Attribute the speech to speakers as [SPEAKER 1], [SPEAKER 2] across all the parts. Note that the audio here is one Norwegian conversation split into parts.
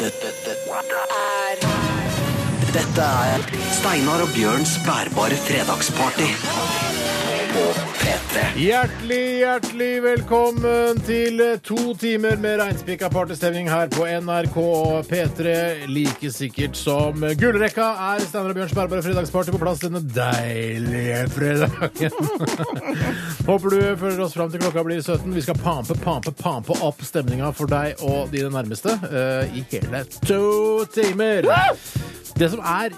[SPEAKER 1] Dette, dette er Dette er Steinar og Bjørns bærbare fredagsparty på P3.
[SPEAKER 2] Hjertelig, hjertelig velkommen til eh, to timer med reinspikka partystemning her på NRK og P3. Like sikkert som gullrekka er Steinar og Bjørns Bærbare fredagsparty på plass denne deilige fredagen. Håper du følger oss fram til klokka blir 17. Vi skal pampe, pampe, pampe opp stemninga for deg og dine nærmeste eh, i hele to timer. Det som er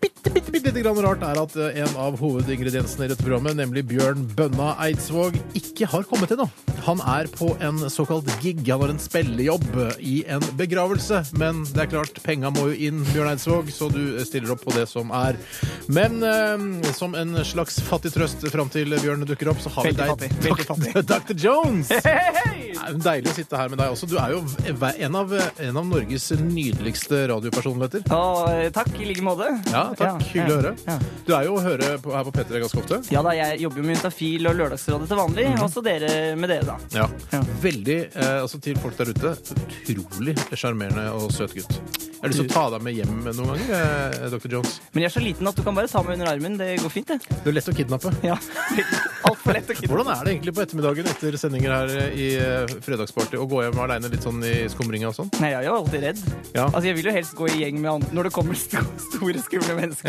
[SPEAKER 2] bitte, bitte, bitte lite grann rart, er at eh, en av hovedingrediensene i dette programmet, nemlig Bjørn Bønna Eidsvåg, ikke har kommet ennå. Han er på en såkalt gig. Han har en spillejobb eh, i en begravelse. Men det er klart, penga må jo inn, Bjørn Eidsvåg, så du eh, stiller opp på det som er. Men eh, som en slags fattig trøst fram til Bjørn dukker opp, så har vi
[SPEAKER 3] Veldig
[SPEAKER 2] deg,
[SPEAKER 3] fattig, veldig fattig.
[SPEAKER 2] Dr. Jones. Det er jo Deilig å sitte her med deg også. Du er jo en av, eh, en av Norges nydeligste radiopersonligheter.
[SPEAKER 3] Og, eh, takk i like måte.
[SPEAKER 2] Ja, takk. Hyggelig å høre.
[SPEAKER 3] ja.
[SPEAKER 2] Du er jo å høre på, her på P3 ganske ofte.
[SPEAKER 3] Ja da, jeg jobber jo med Juntafil og Lørdagsrådet til vanlig.
[SPEAKER 2] Mhm.
[SPEAKER 3] Også dere med dere, da.
[SPEAKER 2] Ja.
[SPEAKER 3] Ja.
[SPEAKER 2] Veldig, eh, altså til folk der ute, utrolig sjarmerende og søt gutt. Jeg har lyst til å ta deg med hjem noen ganger, eh, Dr. Jones.
[SPEAKER 3] Men jeg er så liten at du kan bare ta meg under armen. Det går fint, det.
[SPEAKER 2] Du er lett å kidnappe.
[SPEAKER 3] Ja. Altfor lett å kidnappe.
[SPEAKER 2] Hvordan er det egentlig på ettermiddagen etter sendinger her eh, i eh, Fredagsparty å gå hjem aleine litt sånn i skumringa og sånn?
[SPEAKER 3] Nei, jeg er jo alltid redd.
[SPEAKER 2] Ja.
[SPEAKER 3] Altså, Jeg vil jo helst gå i gjeng med andre når det kommer sto store, skumle mennesker.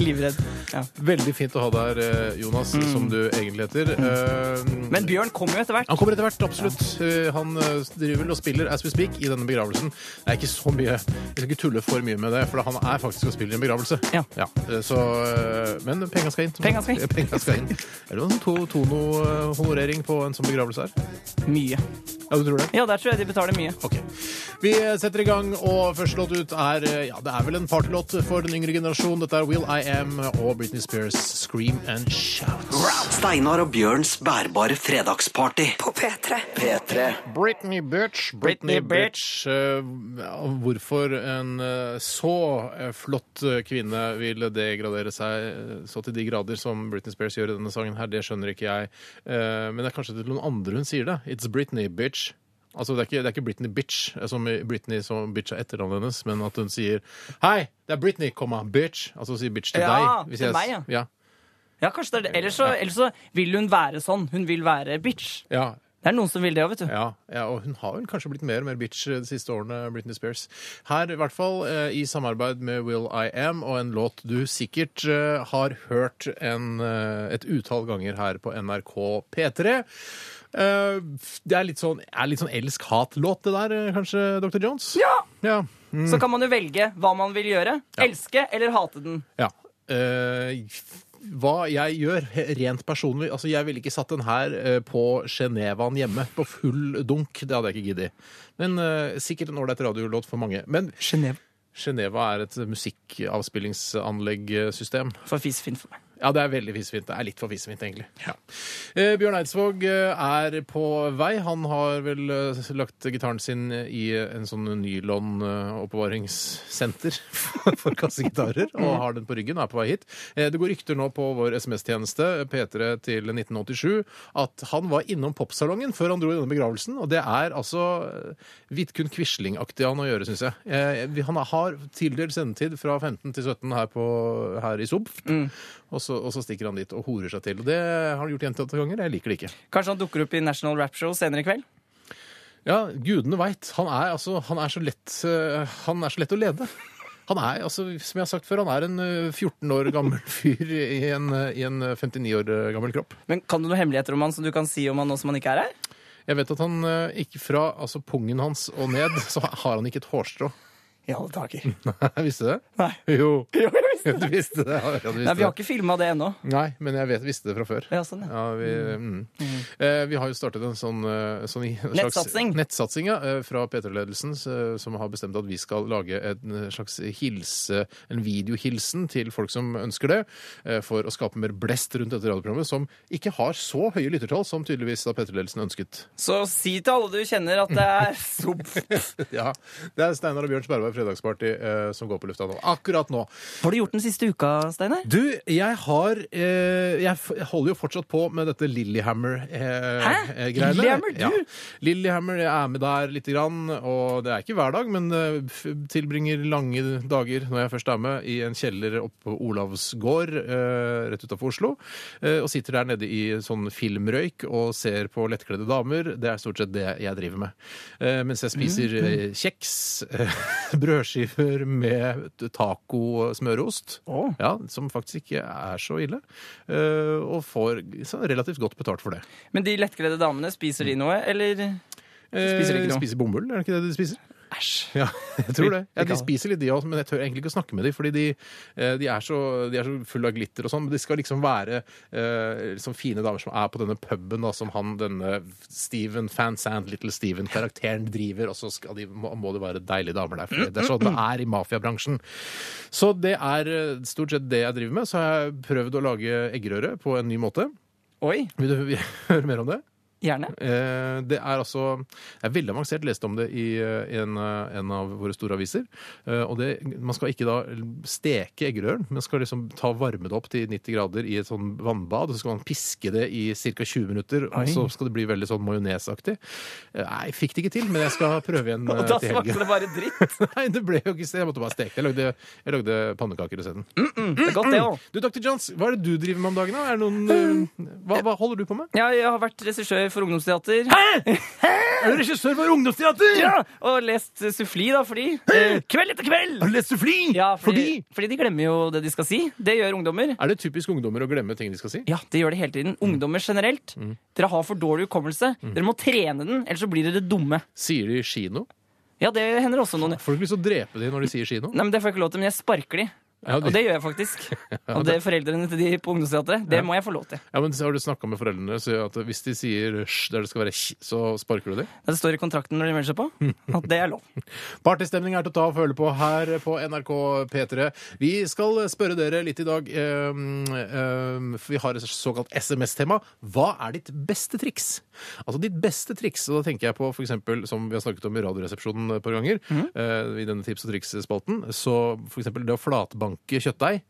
[SPEAKER 3] Livredd. Ja.
[SPEAKER 2] Veldig fint å ha deg her, eh, Jonas, som du egentlig heter. Eh,
[SPEAKER 3] Men Bjørn kommer jo etter hvert.
[SPEAKER 2] Han kommer etter hvert, absolutt. Eh, Han eh, driver vel og spiller as we speak i denne begravelsen. Det er ikke så mye Jeg skal ikke tulle for mye med det, for han er faktisk og spiller i en begravelse.
[SPEAKER 3] Ja.
[SPEAKER 2] eh, så, eh, men penga skal inn.
[SPEAKER 3] Penga skal inn.
[SPEAKER 2] Penga skal inn. Er det noen to, tono-honorering på en sånn begravelse her?
[SPEAKER 3] Mye.
[SPEAKER 2] Ja, du tror det?
[SPEAKER 3] Ja, der tror jeg de betaler mye.
[SPEAKER 2] Ok. Vi eh, setter i gang, og første låt ut er eh, Ja, det er vel en partylåt for den yngre generasjon. Dette er Will I Am og Britney Spears' Scream and Shout.
[SPEAKER 1] Steinar og Bjørns bærbare fredagsparty på P3. P3.
[SPEAKER 2] Britney Bitch.
[SPEAKER 3] Britney
[SPEAKER 2] Bitch. Eh, hvorfor en eh, så eh, flott eh, kvinne vil degradere seg eh, så til de grader som Britney Spears gjør i denne sangen her, det skjønner ikke jeg. Eh, men det er kanskje til noen andre hun sier det. It's Britney Bitch. Altså, det er, ikke, det er ikke Britney Bitch, eh, som i Britney som bitch er etternavnet hennes, men at hun sier Hei, det er Britney, komma, bitch. Altså hun sier bitch til
[SPEAKER 3] Ja,
[SPEAKER 2] deg.
[SPEAKER 3] til meg, ja.
[SPEAKER 2] ja.
[SPEAKER 3] Ja, kanskje det er det. Ellers så, ellers så vil hun være sånn. Hun vil være bitch.
[SPEAKER 2] Ja,
[SPEAKER 3] Det er noen som vil det òg, vet du.
[SPEAKER 2] Ja, ja, og hun har vel kanskje blitt mer og mer bitch de siste årene, Britney Spears. Her i hvert fall eh, i samarbeid med Will I Am og en låt du sikkert eh, har hørt en, eh, et utall ganger her på NRK P3. Eh, Det er litt sånn, er litt sånn elsk-hat-låt det der, eh, kanskje, Dr. Jones?
[SPEAKER 3] Ja!
[SPEAKER 2] Ja.
[SPEAKER 3] Så kan man jo velge hva man vil gjøre. Elske eller hate den.
[SPEAKER 2] ja. Eh, hva jeg gjør he- rent personlig Altså, jeg ville ikke satt den her eh, på Genevaen hjemme på full dunk. Det hadde jeg ikke giddet. Men eh, sikkert en ålreit radiolåt for mange. Men
[SPEAKER 3] Genève.
[SPEAKER 2] Geneva er et eh, musikkavspillingsanleggsystem.
[SPEAKER 3] For fisefint for meg.
[SPEAKER 2] Ja, det er veldig fisefint. Det er litt for fisefint, egentlig. Ja. Eh, Bjørn Eidsvåg eh, er på vei. Han har vel eh, lagt gitaren sin i en sånn nylon-oppbevaringssenter for kassegitarer, og har den på ryggen og er på vei hit. Eh, Det går rykter nå på vår SMS-tjeneste, P3 til 1987, at han var innom popsalongen før han dro i denne begravelsen, og det er altså eh, Vidkun Quisling-aktig han å gjøre, syns jeg. Eh, vi- Han har tildelt sendetid fra 15 til 17 her, på, her i SOB. Og så, og så stikker han dit og horer seg til. Og det har han gjort gjentatte ganger. Jeg liker det ikke.
[SPEAKER 3] Kanskje han dukker opp i National Rap Show senere i kveld?
[SPEAKER 2] Ja, gudene veit. Han, er altså, han, er så lett, eh, han er så lett å lede. Han er, altså, som jeg har sagt før, han er en eh, 14 år gammel fyr i en, eh, i en eh, 59 år eh, gammel kropp.
[SPEAKER 3] Men kan du noen hemmeligheter om han som du kan si om han nå som han ikke er her?
[SPEAKER 2] Jeg vet at han eh, ikke fra altså, pungen hans og ned, så har han ikke et hårstrå.
[SPEAKER 3] I alle dager.
[SPEAKER 2] Visste du det?
[SPEAKER 3] Nei.
[SPEAKER 2] Jo.
[SPEAKER 3] Jo, jeg visste
[SPEAKER 2] Du visste det. Ja, du
[SPEAKER 3] Nei,
[SPEAKER 2] visste
[SPEAKER 3] vi har
[SPEAKER 2] det.
[SPEAKER 3] ikke filma det ennå.
[SPEAKER 2] Nei, men jeg vet, visste det fra før.
[SPEAKER 3] Ja, sånn, ja.
[SPEAKER 2] Ja, vi, mm. Eh, vi har jo startet en sånn, eh, sånn i- en slags-
[SPEAKER 3] Nettsatsing.
[SPEAKER 2] Nettsatsing, ja, eh, fra P3-ledelsen, s- eh, som har bestemt at vi skal lage en eh, slags hilse, en videohilsen til folk som ønsker det, eh, for å skape mer blest rundt dette radioprogrammet, som ikke har så høye lyttertall som tydeligvis da P3-ledelsen ønsket.
[SPEAKER 3] Så si til alle du kjenner at det er sopp.
[SPEAKER 2] Ja, Det er Steinar og Bjørns Bergberg fredagsparty eh, som går på lufta nå. Akkurat nå.
[SPEAKER 3] Har du gjort den siste uka, Steinar?
[SPEAKER 2] Du, jeg har eh, Jeg f- jeg holder jo fortsatt på med dette eh, Lillehammer-greiene.
[SPEAKER 3] Hæ? Lilyhammer, du?
[SPEAKER 2] Ja. Lillehammer, jeg er med der lite grann. Og det er ikke hver dag, men eh, f- tilbringer lange dager når jeg først er med, i en kjeller oppe på Olavsgård eh, rett utafor Oslo. eh, og sitter der nede i sånn filmrøyk og ser på lettkledde damer. Det er stort sett det jeg driver med. Eh, mens jeg spiser eh, kjeks, eh, brødskiver med taco-smørost.
[SPEAKER 3] Å.
[SPEAKER 2] Ja, som faktisk ikke er så ille. eh, og får så relativt godt betalt for det.
[SPEAKER 3] Men de lettkledde damene, spiser de noe, eller Spiser de ikke
[SPEAKER 2] Eh,
[SPEAKER 3] noe?
[SPEAKER 2] Spiser bomull, er det ikke det de spiser?
[SPEAKER 3] Æsj.
[SPEAKER 2] Ja, jeg tror det. Ja,
[SPEAKER 3] Vi
[SPEAKER 2] de
[SPEAKER 3] kan det.
[SPEAKER 2] spiser litt de også, men jeg tør egentlig ikke å snakke med de, fordi de, eh, de, er, så, de er så fulle av glitter og sånn. Men de skal liksom være eh, liksom fine damer som er på denne puben, da, som han, denne Steven, Fansand, Little Steven-karakteren driver, og så skal de, må, må det være deilige damer der. For det er sånn det er i mafiabransjen. Så det er eh, stort sett det jeg driver med. Så har jeg prøvd å lage eggerøre på en ny måte.
[SPEAKER 3] Oi,
[SPEAKER 2] Vil du høre mer om det?
[SPEAKER 3] gjerne.
[SPEAKER 2] Eh, Det er altså Det er veldig avansert. Leste om det i eh, en, eh, en av våre store aviser. Eh, Og det, man skal ikke da steke eggerøren, men skal liksom ta varme det opp til 90 grader i et sånn vannbad. og Så skal man piske det i ca. 20 minutter,
[SPEAKER 3] Oi.
[SPEAKER 2] og så skal det bli veldig sånn majonesaktig. Eh, Nei, jeg fikk det ikke til, men jeg skal prøve igjen
[SPEAKER 3] Og
[SPEAKER 2] eh,
[SPEAKER 3] da
[SPEAKER 2] til
[SPEAKER 3] smakte
[SPEAKER 2] helgen.
[SPEAKER 3] det bare dritt.
[SPEAKER 2] Nei, det ble jo ikke Jeg måtte bare steke det. Jeg lagde, jeg lagde pannekaker isteden.
[SPEAKER 3] Det er godt, det òg.
[SPEAKER 2] Du, Dr. Johns, hva er det du driver med om dagen? da? Er det noen, eh, hva, hva holder du på med?
[SPEAKER 3] Ja, jeg har vært regissør for ungdomsteater.
[SPEAKER 2] Er du regissør for ungdomsteater?
[SPEAKER 3] Ja, og lest eh, suffli, da, fordi eh, Kveld etter kveld!
[SPEAKER 2] Har du lest suffli?
[SPEAKER 3] Ja, fordi, fordi de glemmer jo det de skal si. Det gjør ungdommer.
[SPEAKER 2] Er det typisk ungdommer å glemme ting de skal si?
[SPEAKER 3] Ja, det gjør det hele tiden.
[SPEAKER 2] Mm.
[SPEAKER 3] Ungdommer generelt. Dere har for dårlig hukommelse. Dere må trene den, ellers så blir dere dumme.
[SPEAKER 2] Sier de kino?
[SPEAKER 3] Ja, det hender også noen.
[SPEAKER 2] Får du ikke lyst til å drepe de når de sier kino?
[SPEAKER 3] Nei, men Det får jeg ikke lov til, men jeg sparker de.
[SPEAKER 2] Ja,
[SPEAKER 3] Og
[SPEAKER 2] de,
[SPEAKER 3] det gjør jeg faktisk. Og det er foreldrene til de på ungdomsteatret, det må jeg få lov til.
[SPEAKER 2] ja men Har du snakka med foreldrene så at hvis de sier sj der det skal være kj, så sparker du dem?
[SPEAKER 3] Det står i kontrakten når de melder seg på, at det er lov.
[SPEAKER 2] Partystemning er til å ta og føle på her på NRK P3. Vi skal spørre dere litt i dag. ehm, ehm, for vi har et såkalt SMS-tema. Hva er ditt beste triks? Altså ditt beste triks, og da tenker jeg på for eksempel, som vi har snakket om i Radioresepsjonen et par ganger, eh, i denne tips- og triks-spalten, så for eksempel det å flatbanke kjøttdeig.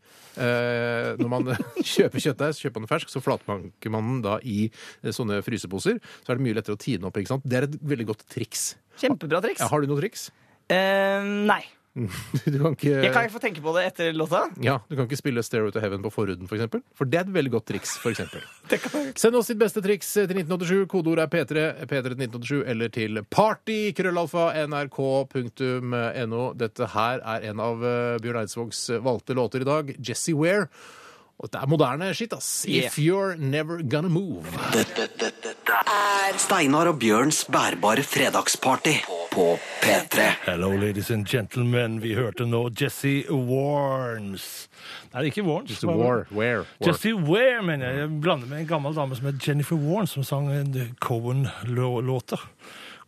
[SPEAKER 2] Eh, når man kjøper kjøttdeig, så kjøper man det fersk, så flatbanker man den da i eh, sånne fryseposer. Så er det mye lettere å tine opp, ikke sant? Det er et veldig godt triks.
[SPEAKER 3] Kjempebra triks.
[SPEAKER 2] Ja, har du noe triks?
[SPEAKER 3] Eh, nei.
[SPEAKER 2] Du kan ikke
[SPEAKER 3] Jeg kan ikke få tenke på det etter låta.
[SPEAKER 2] Ja, Du kan ikke spille Stairway to Heaven på forhuden, for eksempel. For det er et veldig godt triks. For eksempel.
[SPEAKER 3] Det kan jeg ikke.
[SPEAKER 2] Send oss ditt beste triks til 1987. Kodeord er P3, P3 til 1987, eller til party.krøllalfa.nrk.no. Dette her er en av eh, Bjørn Eidsvågs valgte låter i dag, Jesse Ware. Og det er moderne skitt, ass.
[SPEAKER 3] Yeah.
[SPEAKER 2] If you're never gonna move.
[SPEAKER 1] Dette, dette, dette er Steinar og Bjørns bærbare fredagsparty på P3.
[SPEAKER 4] Hello, ladies and gentlemen. Vi hørte nå Jesse Warnes. Nei, ikke Warnes.
[SPEAKER 2] It's a war, where, war.
[SPEAKER 4] Jesse Ware, mener jeg. Jeg blander med en gammel dame som het Jennifer Warnes, som sang en Cohen-låter.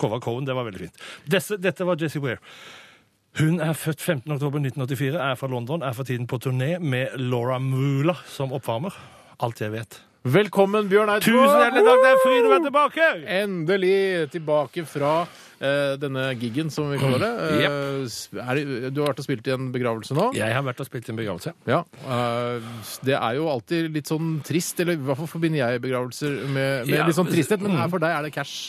[SPEAKER 4] Cova Cohen, det var veldig fint. Desse, dette var Jesse Ware. Hun er født 15.10.1984, er fra London, er for tiden på turné med Laura Mula som oppvarmer. Alt jeg vet.
[SPEAKER 2] Velkommen, Bjørn Eidsvåg!
[SPEAKER 4] Tusen hjertelig takk, det er fryd å være tilbake!
[SPEAKER 2] Endelig tilbake fra eh, denne giggen, som vi kaller det.
[SPEAKER 4] Mm.
[SPEAKER 2] Eh, s- er, det- du har vært og spilt i en begravelse nå.
[SPEAKER 4] Jeg har vært og spilt i en begravelse.
[SPEAKER 2] Ja, eh, Det er jo alltid litt sånn trist, eller i hvert fall forbinder jeg begravelser med, med
[SPEAKER 4] Ja. Mm.
[SPEAKER 2] litt sånn tristhet, men her for deg er det cash.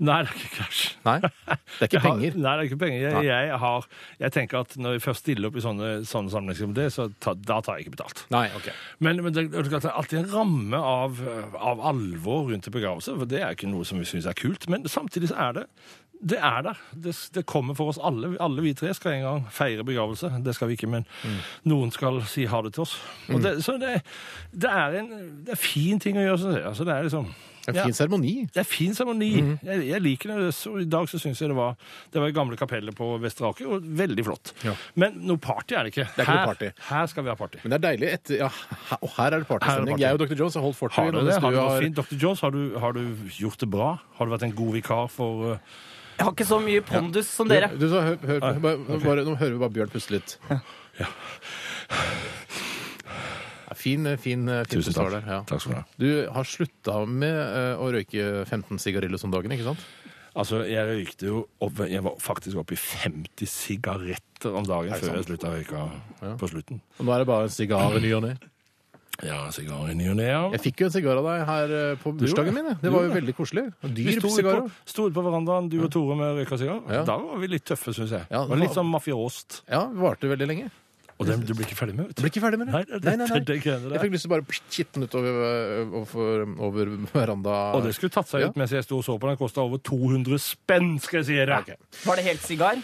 [SPEAKER 4] Nei, det er ikke krasj.
[SPEAKER 2] Nei, det er ikke
[SPEAKER 4] Jeg har-
[SPEAKER 2] penger.
[SPEAKER 4] Nei, det er ikke penger.
[SPEAKER 2] Nei.
[SPEAKER 4] Jeg, jeg, har, jeg tenker at når jeg først stiller opp i sånne, sånne sammenhenger som det, så ta, da tar jeg ikke betalt.
[SPEAKER 2] Nei, ok.
[SPEAKER 4] Men, men det, det er klart det er alltid en ramme av, av alvor rundt en begravelse, for det er ikke noe som vi syns er kult. Men samtidig så er det det er der. Det, det kommer for oss alle. Alle vi tre skal en gang feire begravelse. Det skal vi ikke, men
[SPEAKER 2] Mm.
[SPEAKER 4] noen skal si ha det til oss. Og det, så det, det er en det er fin ting å gjøre. synes jeg. Altså, det er liksom
[SPEAKER 2] En
[SPEAKER 4] ja.
[SPEAKER 2] fin seremoni.
[SPEAKER 4] Det er fin seremoni. Jeg, jeg liker det. Så I dag så syns jeg det var Det var i gamle kapellet på Vestre Aker, og veldig flott.
[SPEAKER 2] Ja.
[SPEAKER 4] Men noe party er det ikke.
[SPEAKER 2] er ikke noe
[SPEAKER 4] her,
[SPEAKER 2] party.
[SPEAKER 4] her skal vi ha party.
[SPEAKER 2] Men det er deilig etter ja, her- Og her er det
[SPEAKER 4] Her er
[SPEAKER 2] partystemning.
[SPEAKER 4] det
[SPEAKER 2] Jeg og Dr. Jones har holdt fortet.
[SPEAKER 4] Har du
[SPEAKER 2] mens
[SPEAKER 4] det? Har
[SPEAKER 2] du
[SPEAKER 4] du
[SPEAKER 2] har-
[SPEAKER 4] det fint? Dr. Jones, har du, har du gjort det bra? Har du vært en god vikar for uh,
[SPEAKER 3] Jeg har ikke så mye pondus som dere.
[SPEAKER 2] Du, du, hør, hør, bare, bare, nå hører vi bare Bjørn puste litt. Ja, Fin, eh, fin, fin pust var det, Ja.
[SPEAKER 4] Takk skal du ha.
[SPEAKER 2] Du har slutta med eh, å røyke 15 sigarillos om dagen, ikke sant?
[SPEAKER 4] Altså, jeg røykte jo opp, Jeg var faktisk oppe i 50 sigaretter om dagen før jeg slutta å røyke på slutten.
[SPEAKER 2] Og nå er det bare en sigar i ny og ne.
[SPEAKER 4] Ja, sigar i ny og ne. ja.
[SPEAKER 2] Jeg fikk jo en sigar av deg her eh, på bursdagen min. jeg. Det var jo veldig koselig. Og
[SPEAKER 4] Vi
[SPEAKER 2] Dyr
[SPEAKER 4] sto ut
[SPEAKER 2] sigar
[SPEAKER 4] på,
[SPEAKER 2] òg.
[SPEAKER 4] sto ut på verandaen, du og Tore med røyka sigar.
[SPEAKER 2] Ja.
[SPEAKER 4] Da var vi litt tøffe, syns jeg.
[SPEAKER 2] Ja,
[SPEAKER 4] det var
[SPEAKER 2] det
[SPEAKER 4] litt
[SPEAKER 2] var-
[SPEAKER 4] sånn mafiost.
[SPEAKER 2] Ja, varte veldig lenge.
[SPEAKER 4] Og dem, du blir ikke ferdig med, vet
[SPEAKER 2] Jeg ble ikke ferdig med det.
[SPEAKER 4] Nei, det, det, det, det greiene
[SPEAKER 2] Jeg
[SPEAKER 4] der.
[SPEAKER 2] fikk lyst til å bare kitne utover øh, over, over veranda.
[SPEAKER 4] Og det skulle tatt seg ut mens jeg sto og så på. Den kosta over 200 spenn, skal jeg si dere.
[SPEAKER 3] Var det helt sigar?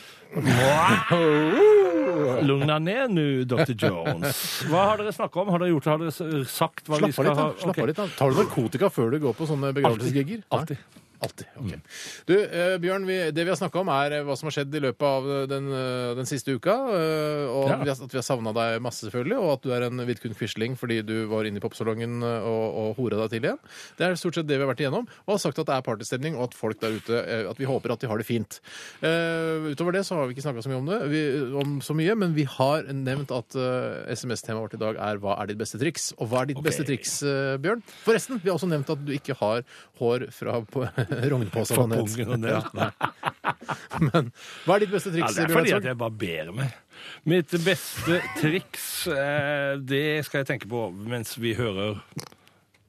[SPEAKER 4] Lugna ned nå, Dr. Jones. Hva har dere snakka om? Har dere gjort det? Har dere s- sagt hva vi
[SPEAKER 2] Slapp av litt,
[SPEAKER 4] skal
[SPEAKER 2] da.
[SPEAKER 4] ha?
[SPEAKER 2] Slapp av
[SPEAKER 4] Ok.
[SPEAKER 2] litt, da. Tar du narkotika før du går på sånne begravelsesgigger? Nei?
[SPEAKER 4] Alltid.
[SPEAKER 2] Alltid. Mm. ok. Du, eh, Bjørn, vi, det vi har snakka om, er eh, hva som har skjedd i løpet av eh, den, eh, den siste uka. eh, og
[SPEAKER 4] Ja.
[SPEAKER 2] vi har, at vi har savna deg masse, selvfølgelig. Og at du er en Vidkun Quisling fordi du var inne i popsalongen eh, og, og hora deg til igjen. Det er stort sett det vi har vært igjennom. Og har sagt at det er partystemning, og at folk der ute eh, At vi håper at de har det fint. Eh, utover det så har vi ikke snakka så mye om det, vi, om så mye, men vi har nevnt at eh, SMS-temaet vårt i dag er 'Hva er ditt beste triks?' Og hva er ditt beste triks, eh, Bjørn? Forresten, vi har også nevnt at du ikke har hår fra på- rognposen.
[SPEAKER 4] Fra
[SPEAKER 2] han het.
[SPEAKER 4] pungen og ned.
[SPEAKER 2] nei. Men hva er ditt beste
[SPEAKER 4] Ja,
[SPEAKER 2] triks,
[SPEAKER 4] det er
[SPEAKER 2] Bjørn
[SPEAKER 4] fordi at
[SPEAKER 2] Eidsvåg?
[SPEAKER 4] jeg barberer meg. Mitt beste triks, eh, det skal jeg tenke på mens vi hører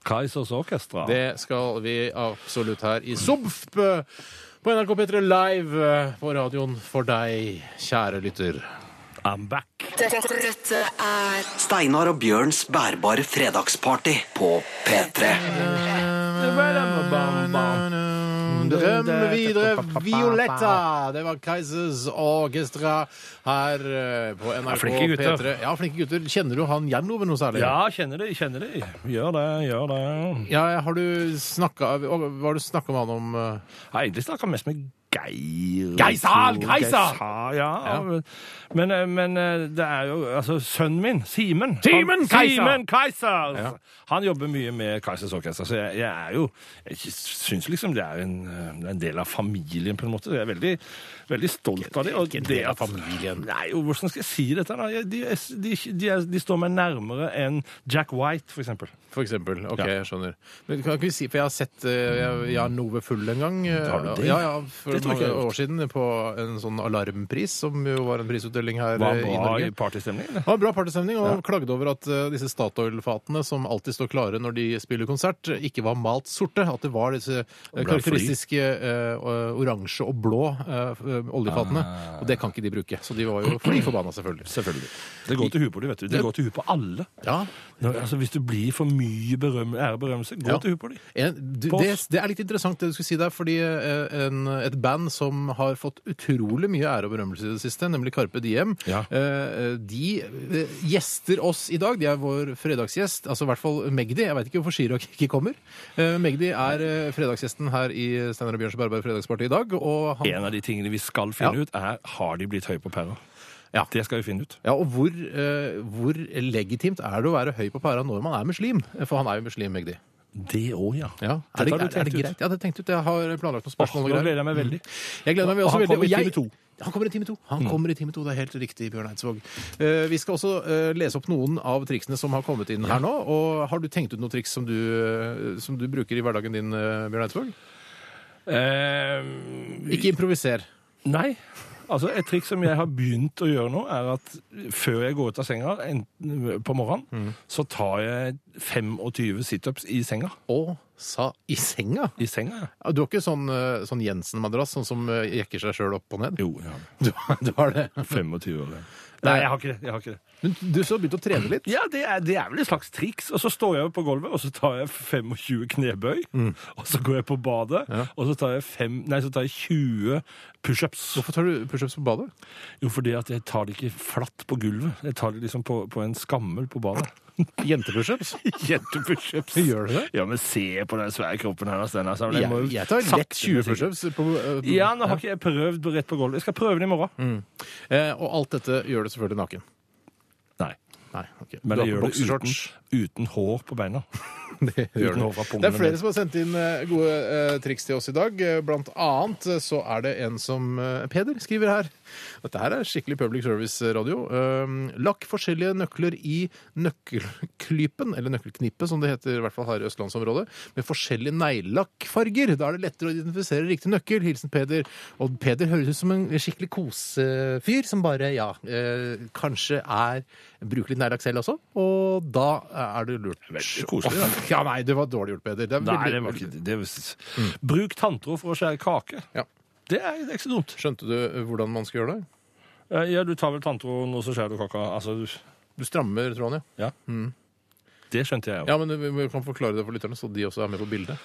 [SPEAKER 4] Kaizers Orkestra.
[SPEAKER 2] Det skal vi absolutt her i Sumpf eh, på NRK P3 Live eh, på radioen for deg, kjære lytter.
[SPEAKER 4] I'm back.
[SPEAKER 5] Dette, dette er
[SPEAKER 1] Steinar og Bjørns bærbare fredagsparty på P3.
[SPEAKER 2] Drøm videre Violetta! Det var Kaizers Orkestra her eh, på NRK
[SPEAKER 4] flinke gutter.
[SPEAKER 2] P3. Ja, flinke gutter. Kjenner du han Jannoven noe særlig?
[SPEAKER 4] Ja, kjenner de, kjenner de. Gjør det, gjør det.
[SPEAKER 2] Ja, har du snakka Hva har du snakka med han om? eh,
[SPEAKER 4] Jeg har egentlig snakka mest med Geir
[SPEAKER 2] Geisar,
[SPEAKER 4] Geir-
[SPEAKER 2] Geisar!
[SPEAKER 4] Geisar, Ja. Men, eh, men det er jo altså sønnen min, Simen
[SPEAKER 2] Simen
[SPEAKER 4] Han-
[SPEAKER 2] Kaiser!
[SPEAKER 4] Simen Kaiser! Han jobber mye med Kaisers Orkester, så jeg, jeg er jo Jeg syns liksom det er en, det er en del av familien, på en måte. Jeg er veldig, veldig stolt av det. Og det
[SPEAKER 2] del av
[SPEAKER 4] at-
[SPEAKER 2] familien.
[SPEAKER 4] Nei, jo, hvordan skal jeg si dette? da? Jeg- De, er- de, de, er, de står meg nærmere enn Jack White, for eksempel.
[SPEAKER 2] For eksempel. Ok,
[SPEAKER 4] Ja.
[SPEAKER 2] jeg skjønner. Men kan ikke vi si, for jeg har sett eh, jeg, jeg har Nove Full en gang. eh,
[SPEAKER 4] Har du det?
[SPEAKER 2] Ja, ja, for
[SPEAKER 4] Det tror jeg
[SPEAKER 2] mange
[SPEAKER 4] ikke jeg har gjort.
[SPEAKER 2] år siden på en sånn alarmpris, som jo var en prisutdeling her
[SPEAKER 4] Var
[SPEAKER 2] eh, i
[SPEAKER 4] bra i
[SPEAKER 2] Norge.
[SPEAKER 4] partystemning, eller?
[SPEAKER 2] Det var bra partystemning, og han klagde over at eh, disse Statoil-fatene som alltid står klare når de spiller konsert, ikke var malt sorte. At det var disse eh, karakteristiske eh, oransje og blå eh, f- eh, oljefatene.
[SPEAKER 4] Ah.
[SPEAKER 2] Og det kan ikke de bruke. Så de var jo fly forbanna, selvfølgelig.
[SPEAKER 4] Selvfølgelig. Det går til huet på de, vet du. Det går til huet på alle.
[SPEAKER 2] Ja,
[SPEAKER 4] Nå, altså, hvis du blir for mye berøm, ære og berømmelse, gå
[SPEAKER 2] Ja.
[SPEAKER 4] til huet på de.
[SPEAKER 2] En, du,
[SPEAKER 4] På-
[SPEAKER 2] det, det er litt interessant det du skulle si der, fordi eh, en, et band som har fått utrolig mye ære og berømmelse i det siste, nemlig Carpe Diem,
[SPEAKER 4] Ja.
[SPEAKER 2] eh, de eh, gjester oss i dag. De er vår fredagsgjest, altså i hvert fall Magdi. Jeg veit ikke hvorfor Chirag ikke kommer. Eh, Magdi er eh, fredagsgjesten her i Steinar og Bjørns Bærbare Fredagsparty i dag, og han
[SPEAKER 4] En av de tingene vi skal finne
[SPEAKER 2] Ja.
[SPEAKER 4] ut, er har de blitt høye på pæra.
[SPEAKER 2] Ja.
[SPEAKER 4] Det skal vi finne ut.
[SPEAKER 2] Ja, og hvor, eh, hvor legitimt er det å være høy på pæra når man er muslim? For han er jo muslim, Magdi.
[SPEAKER 4] Det òg, ja.
[SPEAKER 2] Ja.
[SPEAKER 4] Dette
[SPEAKER 2] Er, det,
[SPEAKER 4] har
[SPEAKER 2] er,
[SPEAKER 4] du
[SPEAKER 2] er det
[SPEAKER 4] tenkt ut.
[SPEAKER 2] greit? Ja, det tenkte jeg ut. Jeg har planlagt noen
[SPEAKER 4] Åh,
[SPEAKER 2] spørsmål.
[SPEAKER 4] nå
[SPEAKER 2] og greier.
[SPEAKER 4] gleder jeg meg veldig.
[SPEAKER 2] Jeg gleder meg
[SPEAKER 4] Og
[SPEAKER 2] også
[SPEAKER 4] han
[SPEAKER 2] veldig.
[SPEAKER 4] kommer i
[SPEAKER 2] og jeg-
[SPEAKER 4] time to.
[SPEAKER 2] Han kommer i time to.
[SPEAKER 4] Mm.
[SPEAKER 2] Han kommer i time to, Det er helt riktig, Bjørn Eidsvåg. Eh, vi skal også eh, lese opp noen av triksene som har kommet inn her nå. Og har du tenkt ut noen triks som du, eh, som du bruker i hverdagen din, eh, Bjørn Eidsvåg?
[SPEAKER 4] Eh,
[SPEAKER 2] Ikke improviser.
[SPEAKER 4] nei. Altså, Et triks som jeg har begynt å gjøre nå, er at før jeg går ut av senga enten på morgenen, så tar jeg 25 situps i senga.
[SPEAKER 2] Å, sa i senga?
[SPEAKER 4] I senga, ja.
[SPEAKER 2] Ja, Du har ikke sånn, eh, sånn Jensen-madrass, sånn som eh, jekker seg sjøl opp og ned?
[SPEAKER 4] Jo, ja.
[SPEAKER 2] Du, du har det.
[SPEAKER 4] 25 år. ja. Nei, jeg har ikke det. jeg har ikke det.
[SPEAKER 2] Men du så har begynt å trene litt?
[SPEAKER 4] Ja, det er, det er vel et slags triks. Og så står jeg på gulvet, og så tar jeg 25 knebøy.
[SPEAKER 2] Mm.
[SPEAKER 4] Og så går jeg på badet, og så tar jeg, fem, nei, så tar jeg 20 pushups.
[SPEAKER 2] Hvorfor tar du pushups på badet?
[SPEAKER 4] Jo, fordi at jeg tar det ikke flatt på gulvet. Jeg tar det liksom på, på en skammel på badet.
[SPEAKER 2] Jentepushups?
[SPEAKER 4] Jentepushups.
[SPEAKER 2] Gjør du det?
[SPEAKER 4] Ja, men se på den svære kroppen hennes. Den, altså. Den må jo
[SPEAKER 2] Jeg, jeg tar
[SPEAKER 4] sakte,
[SPEAKER 2] lett 20
[SPEAKER 4] men sikkert-
[SPEAKER 2] pushups på eh,
[SPEAKER 4] Ja, nå har ikke jeg prøvd rett på gulvet. Jeg skal prøve den i morgen.
[SPEAKER 2] Eh, og alt dette gjør du selvfølgelig naken.
[SPEAKER 4] Nei.
[SPEAKER 2] Nei, ok. du har
[SPEAKER 4] Men jeg
[SPEAKER 2] på
[SPEAKER 4] gjør det
[SPEAKER 2] boksershorts.
[SPEAKER 4] uten, uten hår på beina.
[SPEAKER 2] Det, gjør
[SPEAKER 4] Uten å overrappe
[SPEAKER 2] det.
[SPEAKER 4] ungene
[SPEAKER 2] det er flere
[SPEAKER 4] med.
[SPEAKER 2] som har sendt inn eh, gode eh, triks til oss i dag. Eh, Blant annet eh, så er det en som eh, Peder skriver her. Dette her er skikkelig public service-radio. Eh, Lakk forskjellige nøkler i nøkkelklypen, eller nøkkelknippet som det heter i hvert fall her i østlandsområdet, med forskjellige neglelakkfarger. Da er det lettere å identifisere riktig nøkkel. Hilsen Peder. Og Peder høres ut som en skikkelig kosefyr som bare, ja, eh, kanskje er Bruker litt neglelakk selv også, og da er det lurt.
[SPEAKER 4] Veldig koselig, da.
[SPEAKER 2] Ja, nei, det var dårlig gjort, Peder. Det er
[SPEAKER 4] Nei,
[SPEAKER 2] veldig-
[SPEAKER 4] det var ikke det. var- Bruk tanntråd for å skjære kake.
[SPEAKER 2] Ja.
[SPEAKER 4] Det er, det er ikke så dumt.
[SPEAKER 2] Skjønte du hvordan man skal gjøre det?
[SPEAKER 4] Eh, Ja, du tar vel tanntråden, og så skjærer du kaka. Altså, du-
[SPEAKER 2] Du strammer tråden, ja.
[SPEAKER 4] ja. Det skjønte jeg òg.
[SPEAKER 2] Ja, men du- Vi kan forklare det for lytterne, så de også er med på bildet.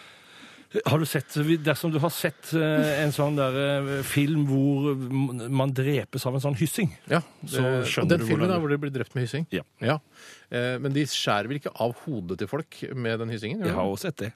[SPEAKER 4] Har du sett, dersom du har sett eh, en sånn der eh, film hvor man drepes av en sånn hyssing
[SPEAKER 2] Ja,
[SPEAKER 4] Så
[SPEAKER 2] det-
[SPEAKER 4] skjønner
[SPEAKER 2] og den
[SPEAKER 4] du hvordan
[SPEAKER 2] filmen da,
[SPEAKER 4] det-
[SPEAKER 2] hvor de blir drept med hyssing.
[SPEAKER 4] Ja.
[SPEAKER 2] Eh, Men de skjærer vel ikke av hodet til folk med den hyssingen? gjør de?
[SPEAKER 4] Jeg har også sett det.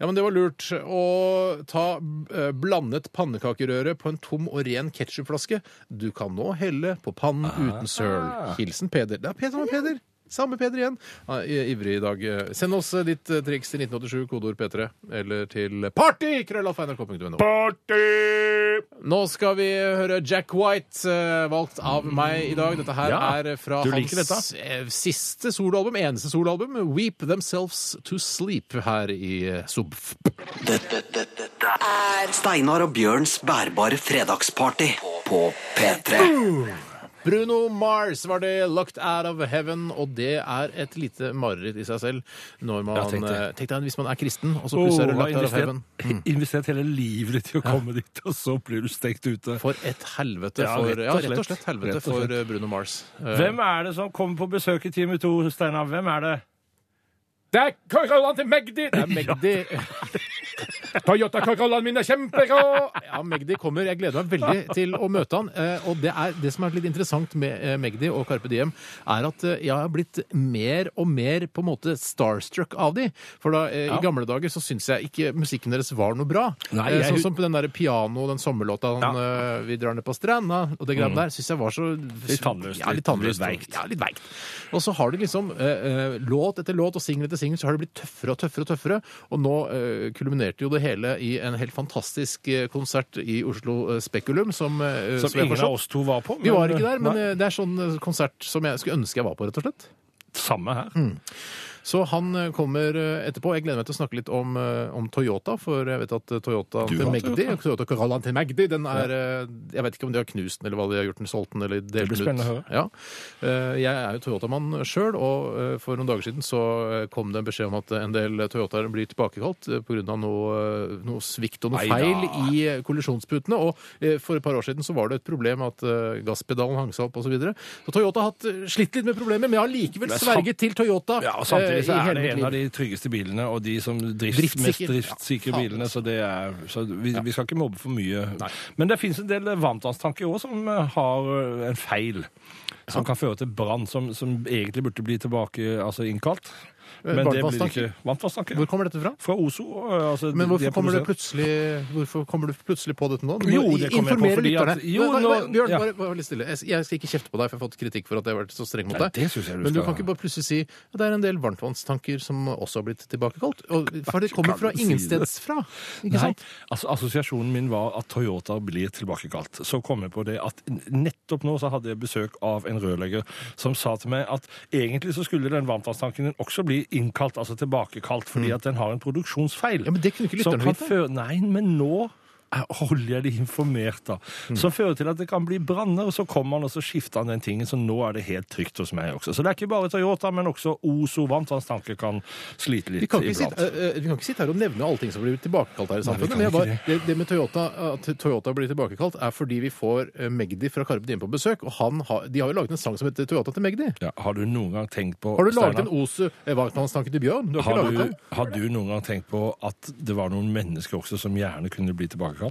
[SPEAKER 2] Ja, men Det var lurt. Å ta eh, blandet pannekakerøre på en tom og ren ketsjupflaske. Du kan nå helle på pannen uten søl. Hilsen Peder. Det er Peder som er Peder. Samme Peder igjen. Han er i- ivrig i dag. Eh, Send oss eh, ditt eh, triks til 1987, kodeord P3, eller til party.krøllalfa.nrk.no. Nå skal vi høre Jack White, eh, valgt av meg i dag. Dette her
[SPEAKER 4] Ja,
[SPEAKER 2] er fra
[SPEAKER 4] du
[SPEAKER 2] hans
[SPEAKER 4] liker
[SPEAKER 2] eh, siste soloalbum, eneste soloalbum, Weep Themselves To Sleep, her i eh, Subf.
[SPEAKER 1] Dette, dette, dette er Steinar og Bjørns bærbare fredagsparty på P3.
[SPEAKER 2] Bruno Mars var det, 'Locked Out of Heaven', og det er et lite mareritt i seg selv. Når man,
[SPEAKER 4] Ja, tenk det.
[SPEAKER 2] eh, tenk deg hvis man er kristen, og så plutselig er det
[SPEAKER 4] Åh,
[SPEAKER 2] 'Locked Out of
[SPEAKER 4] investert-
[SPEAKER 2] Heaven'.
[SPEAKER 4] investert hele livet ditt i å komme dit, og så blir du stengt ute.
[SPEAKER 2] For et helvete
[SPEAKER 4] Ja,
[SPEAKER 2] for
[SPEAKER 4] rett og
[SPEAKER 2] Ja, rett og
[SPEAKER 4] slett.
[SPEAKER 2] slett helvete
[SPEAKER 4] Rett og
[SPEAKER 2] for
[SPEAKER 4] slett.
[SPEAKER 2] eh, Bruno Mars. Eh,
[SPEAKER 4] Hvem er det som kommer på besøk i time to, Steinar? Hvem er det?
[SPEAKER 6] Det er Corollaen til Magdi!
[SPEAKER 2] Det er Magdi.
[SPEAKER 6] Toyota Corollaen min er kjemperå!
[SPEAKER 2] Ja, Magdi kommer. Jeg gleder meg veldig til å møte han. Eh, Og det, er, det som er litt interessant med eh, Magdi og Carpe Diem, er at eh, jeg har blitt mer og mer på en måte starstruck av de. For da, eh, i gamle dager så syns jeg ikke musikken deres var noe bra.
[SPEAKER 4] Nei,
[SPEAKER 2] Eh,
[SPEAKER 4] jeg-
[SPEAKER 2] Sånn som på den der piano, den sommerlåta han, eh, 'Vi drar ned på stranda' og det greiene der, syns jeg var så
[SPEAKER 4] Mm. Litt tannløst,
[SPEAKER 2] Ja, litt
[SPEAKER 4] litt-
[SPEAKER 2] tannløst.
[SPEAKER 4] litt veikt.
[SPEAKER 2] Ja, litt veikt. Og så har de liksom eh, eh, låt etter låt og singel etter singel, så har det blitt tøffere og tøffere og tøffere. Og nå eh, kulminerte jo det hele i en helt fantastisk eh, konsert i Oslo eh, Spekulum, som, eh,
[SPEAKER 4] Som
[SPEAKER 2] som jeg
[SPEAKER 4] ingen av
[SPEAKER 2] forstår.
[SPEAKER 4] oss to var på.
[SPEAKER 2] Vi var ikke der, men
[SPEAKER 4] Nei,
[SPEAKER 2] eh, det er sånn eh, konsert som jeg skulle ønske jeg var på, rett og slett.
[SPEAKER 4] Samme her.
[SPEAKER 2] Så han eh, kommer eh, etterpå. Jeg gleder meg til å snakke litt om, eh, om Toyota, for jeg vet at eh, Toyota
[SPEAKER 4] Du
[SPEAKER 2] til
[SPEAKER 4] har
[SPEAKER 2] Magdi, Toyota Corollaen til Magdi, den er eh, Jeg vet ikke om de har knust den, eller hva de har gjort den, solgt den, eller delt
[SPEAKER 4] blir
[SPEAKER 2] den ut.
[SPEAKER 4] spennende å høre.
[SPEAKER 2] Ja. Eh, Jeg er jo Toyota-mann sjøl, og eh, for noen dager siden så eh, kom det en beskjed om at eh, en del Toyotaer blir tilbakekalt pga. noe, eh, noe svikt og noe
[SPEAKER 4] Neida.
[SPEAKER 2] feil i eh, kollisjonsputene. Og eh, for et par år siden så var det et problem at eh, gasspedalen hang seg opp osv. Så, videre. så Toyota har hatt eh, slitt litt med problemer, men jeg har likevel
[SPEAKER 4] Men sam-
[SPEAKER 2] sverget til Toyota.
[SPEAKER 4] Ja, og Samtidig så
[SPEAKER 2] eh, i hele
[SPEAKER 4] er det
[SPEAKER 2] mitt
[SPEAKER 4] en
[SPEAKER 2] liv.
[SPEAKER 4] av de tryggeste bilene, og de som drift,
[SPEAKER 2] Driftsikre.
[SPEAKER 4] mest
[SPEAKER 2] Ja, altså.
[SPEAKER 4] driftssikre
[SPEAKER 2] faen.
[SPEAKER 4] bilene. Så, det er, så vi, vi skal ikke mobbe for mye. Men det fins en del varmtvannstanker òg som eh, har eh, en feil. Som kan føre til brann, som, som egentlig burde bli tilbake, altså innkalt. Men det blir det ikke.
[SPEAKER 2] varmtvannstanker?
[SPEAKER 4] Varmtvannstanker.
[SPEAKER 2] Eh, Hvor kommer dette fra?
[SPEAKER 4] Fra Ozo. eh, Altså,
[SPEAKER 2] Men
[SPEAKER 4] de
[SPEAKER 2] hvorfor
[SPEAKER 4] er
[SPEAKER 2] kommer, du
[SPEAKER 4] produsert.
[SPEAKER 2] plutselig, hvorfor kommer du plutselig på dette nå? Du må
[SPEAKER 4] Jo, det kom jeg på
[SPEAKER 2] informere
[SPEAKER 4] fordi at-
[SPEAKER 2] lytterne.
[SPEAKER 4] jo,
[SPEAKER 2] Nei, nei,
[SPEAKER 4] nå-
[SPEAKER 2] Bjørn,
[SPEAKER 4] ja.
[SPEAKER 2] bare, bare litt stille. Jeg, jeg skal ikke kjefte på deg, for jeg har fått kritikk for at jeg har vært så streng mot
[SPEAKER 4] Nei,
[SPEAKER 2] deg.
[SPEAKER 4] det synes jeg du
[SPEAKER 2] Men du
[SPEAKER 4] skal-
[SPEAKER 2] kan ikke bare plutselig si at det er en del varmtvannstanker som også har blitt tilbakekalt. Og, for det kommer
[SPEAKER 4] Kan
[SPEAKER 2] fra
[SPEAKER 4] du si
[SPEAKER 2] ingensteds fra. Ikke
[SPEAKER 4] Nei,
[SPEAKER 2] sant?
[SPEAKER 4] altså Assosiasjonen min var at Toyota blir tilbakekalt. Så kom jeg på det at nettopp nå så hadde jeg besøk av en rørlegger som sa til meg at egentlig så skulle den varmtvannstanken din også bli innkalt, altså tilbakekalt, fordi at den har en produksjonsfeil.
[SPEAKER 2] Mm. Ja, men det kunne ikke
[SPEAKER 4] Som
[SPEAKER 2] lytterne
[SPEAKER 4] kan
[SPEAKER 2] vite.
[SPEAKER 4] føre- Nei, men nå er- holder jeg de informert, da.
[SPEAKER 2] Mm.
[SPEAKER 4] Som fører til at det kan bli branner, og så kommer han og så skifter han den tingen, så nå er det helt trygt hos meg også. Så det er ikke bare Toyota, men også Ozo varmtvannstanker kan slite litt
[SPEAKER 2] Vi kan, ikke sitte,
[SPEAKER 4] iblant.
[SPEAKER 2] eh, eh, vi kan ikke sitte her og nevne alle ting som blir tilbakekalt her i
[SPEAKER 4] vi
[SPEAKER 2] samfunnet. Men
[SPEAKER 4] kan
[SPEAKER 2] jeg
[SPEAKER 4] ikke
[SPEAKER 2] bare, det, det med Toyota, at Toyota blir tilbakekalt, er fordi vi får eh, Magdi fra Carpe Diem på besøk. Og han har, de har jo laget en sang som heter Toyota til Magdi.
[SPEAKER 4] Ja, har du noen gang tenkt på
[SPEAKER 2] Har du laget
[SPEAKER 4] Steinar?
[SPEAKER 2] en Eh, Ose Vartmannstanke til Bjørn? Du har ikke
[SPEAKER 4] Har
[SPEAKER 2] laget
[SPEAKER 4] du,
[SPEAKER 2] den?
[SPEAKER 4] har du noen gang tenkt på at det var noen mennesker også som gjerne kunne bli tilbakekalt?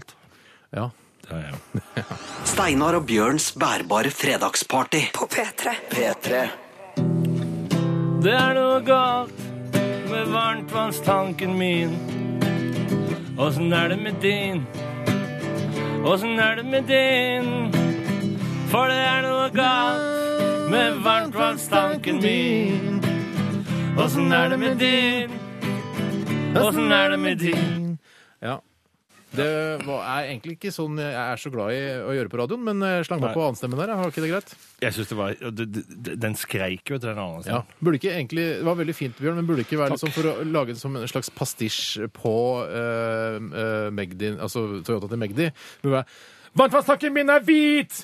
[SPEAKER 2] Ja.
[SPEAKER 4] Det har jeg jo.
[SPEAKER 1] Steinar og Bjørns bærbare fredagsparty.
[SPEAKER 5] På P3.
[SPEAKER 1] P3.
[SPEAKER 4] Det er noe galt med varmtvannstanken min. Åssen er det med din? Åssen er det med din? For det er noe galt med varmtvannstanken min. Åssen er det med din? Åssen er det med din?
[SPEAKER 2] Ja. Det var, er egentlig ikke sånn jeg er så glad i å gjøre på radioen, men jeg slang meg
[SPEAKER 4] Nei.
[SPEAKER 2] på annenstemmen der. jeg. Var ikke det greit?
[SPEAKER 4] Jeg synes det var, d- d- d- Den skreik jo etter den andre.
[SPEAKER 2] Ja. Burde ikke egentlig, Det var veldig fint, Bjørn, men burde ikke være liksom for å lage det som en slags pastisj på eh, eh, Magdi, altså Toyota til Magdi. Det burde være,
[SPEAKER 6] Vannfasttanken min er hvit!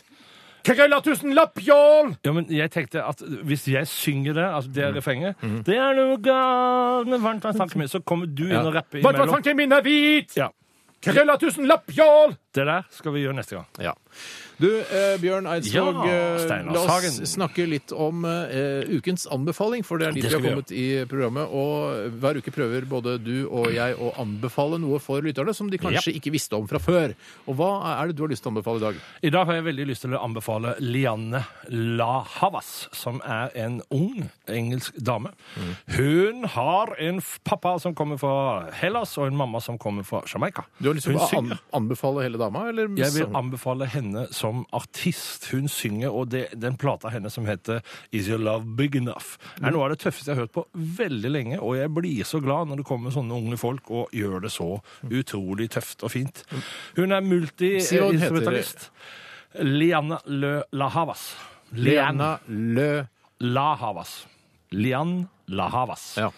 [SPEAKER 6] Krølla tusenlapp, jål!
[SPEAKER 4] Ja, men jeg tenkte at hvis jeg synger det, altså det refrenget Det er noe galt med varmt vann tanken min, så kommer du inn og rapper imellom.
[SPEAKER 6] Vannfasttanken min er hvit!
[SPEAKER 4] Ja.
[SPEAKER 6] Krølla tusenlapp, jål!
[SPEAKER 4] Det der skal vi gjøre neste gang.
[SPEAKER 2] Ja. Du, eh, Bjørn Eidsvåg,
[SPEAKER 4] Ja,
[SPEAKER 2] eh,
[SPEAKER 4] Steinar
[SPEAKER 2] la oss
[SPEAKER 4] Sagen.
[SPEAKER 2] snakke litt om eh, ukens anbefaling, for det er dit
[SPEAKER 4] Det
[SPEAKER 2] vi har
[SPEAKER 4] skal vi
[SPEAKER 2] kommet i programmet. Og hver uke prøver både du og jeg å anbefale noe for lytterne som de kanskje ikke visste om fra før. Og hva er det du har lyst til å anbefale i dag?
[SPEAKER 4] I dag har jeg veldig lyst til å anbefale Lianne La Havas, som er en ung engelsk dame. Hun har en f- pappa som kommer fra Hellas, og en mamma som kommer fra Jamaica.
[SPEAKER 2] Du har lyst til
[SPEAKER 4] Hun
[SPEAKER 2] å
[SPEAKER 4] synger.
[SPEAKER 2] an anbefale hele dama, eller?
[SPEAKER 4] Jeg vil anbefale henne som artist. Hun synger, og det, den plata henne som heter Is Your Love Big Enough, er noe av det tøffeste jeg har hørt på veldig lenge, og jeg blir så glad når det kommer sånne unge folk og gjør det så utrolig tøft og fint. Hun
[SPEAKER 2] Si hva
[SPEAKER 4] er
[SPEAKER 2] hun heter.
[SPEAKER 4] multi-instrumentalist. Liana Le La Havas.
[SPEAKER 2] Liana
[SPEAKER 4] Liana
[SPEAKER 2] Lø...
[SPEAKER 4] La Havas. Lian La Havas.
[SPEAKER 2] Ja.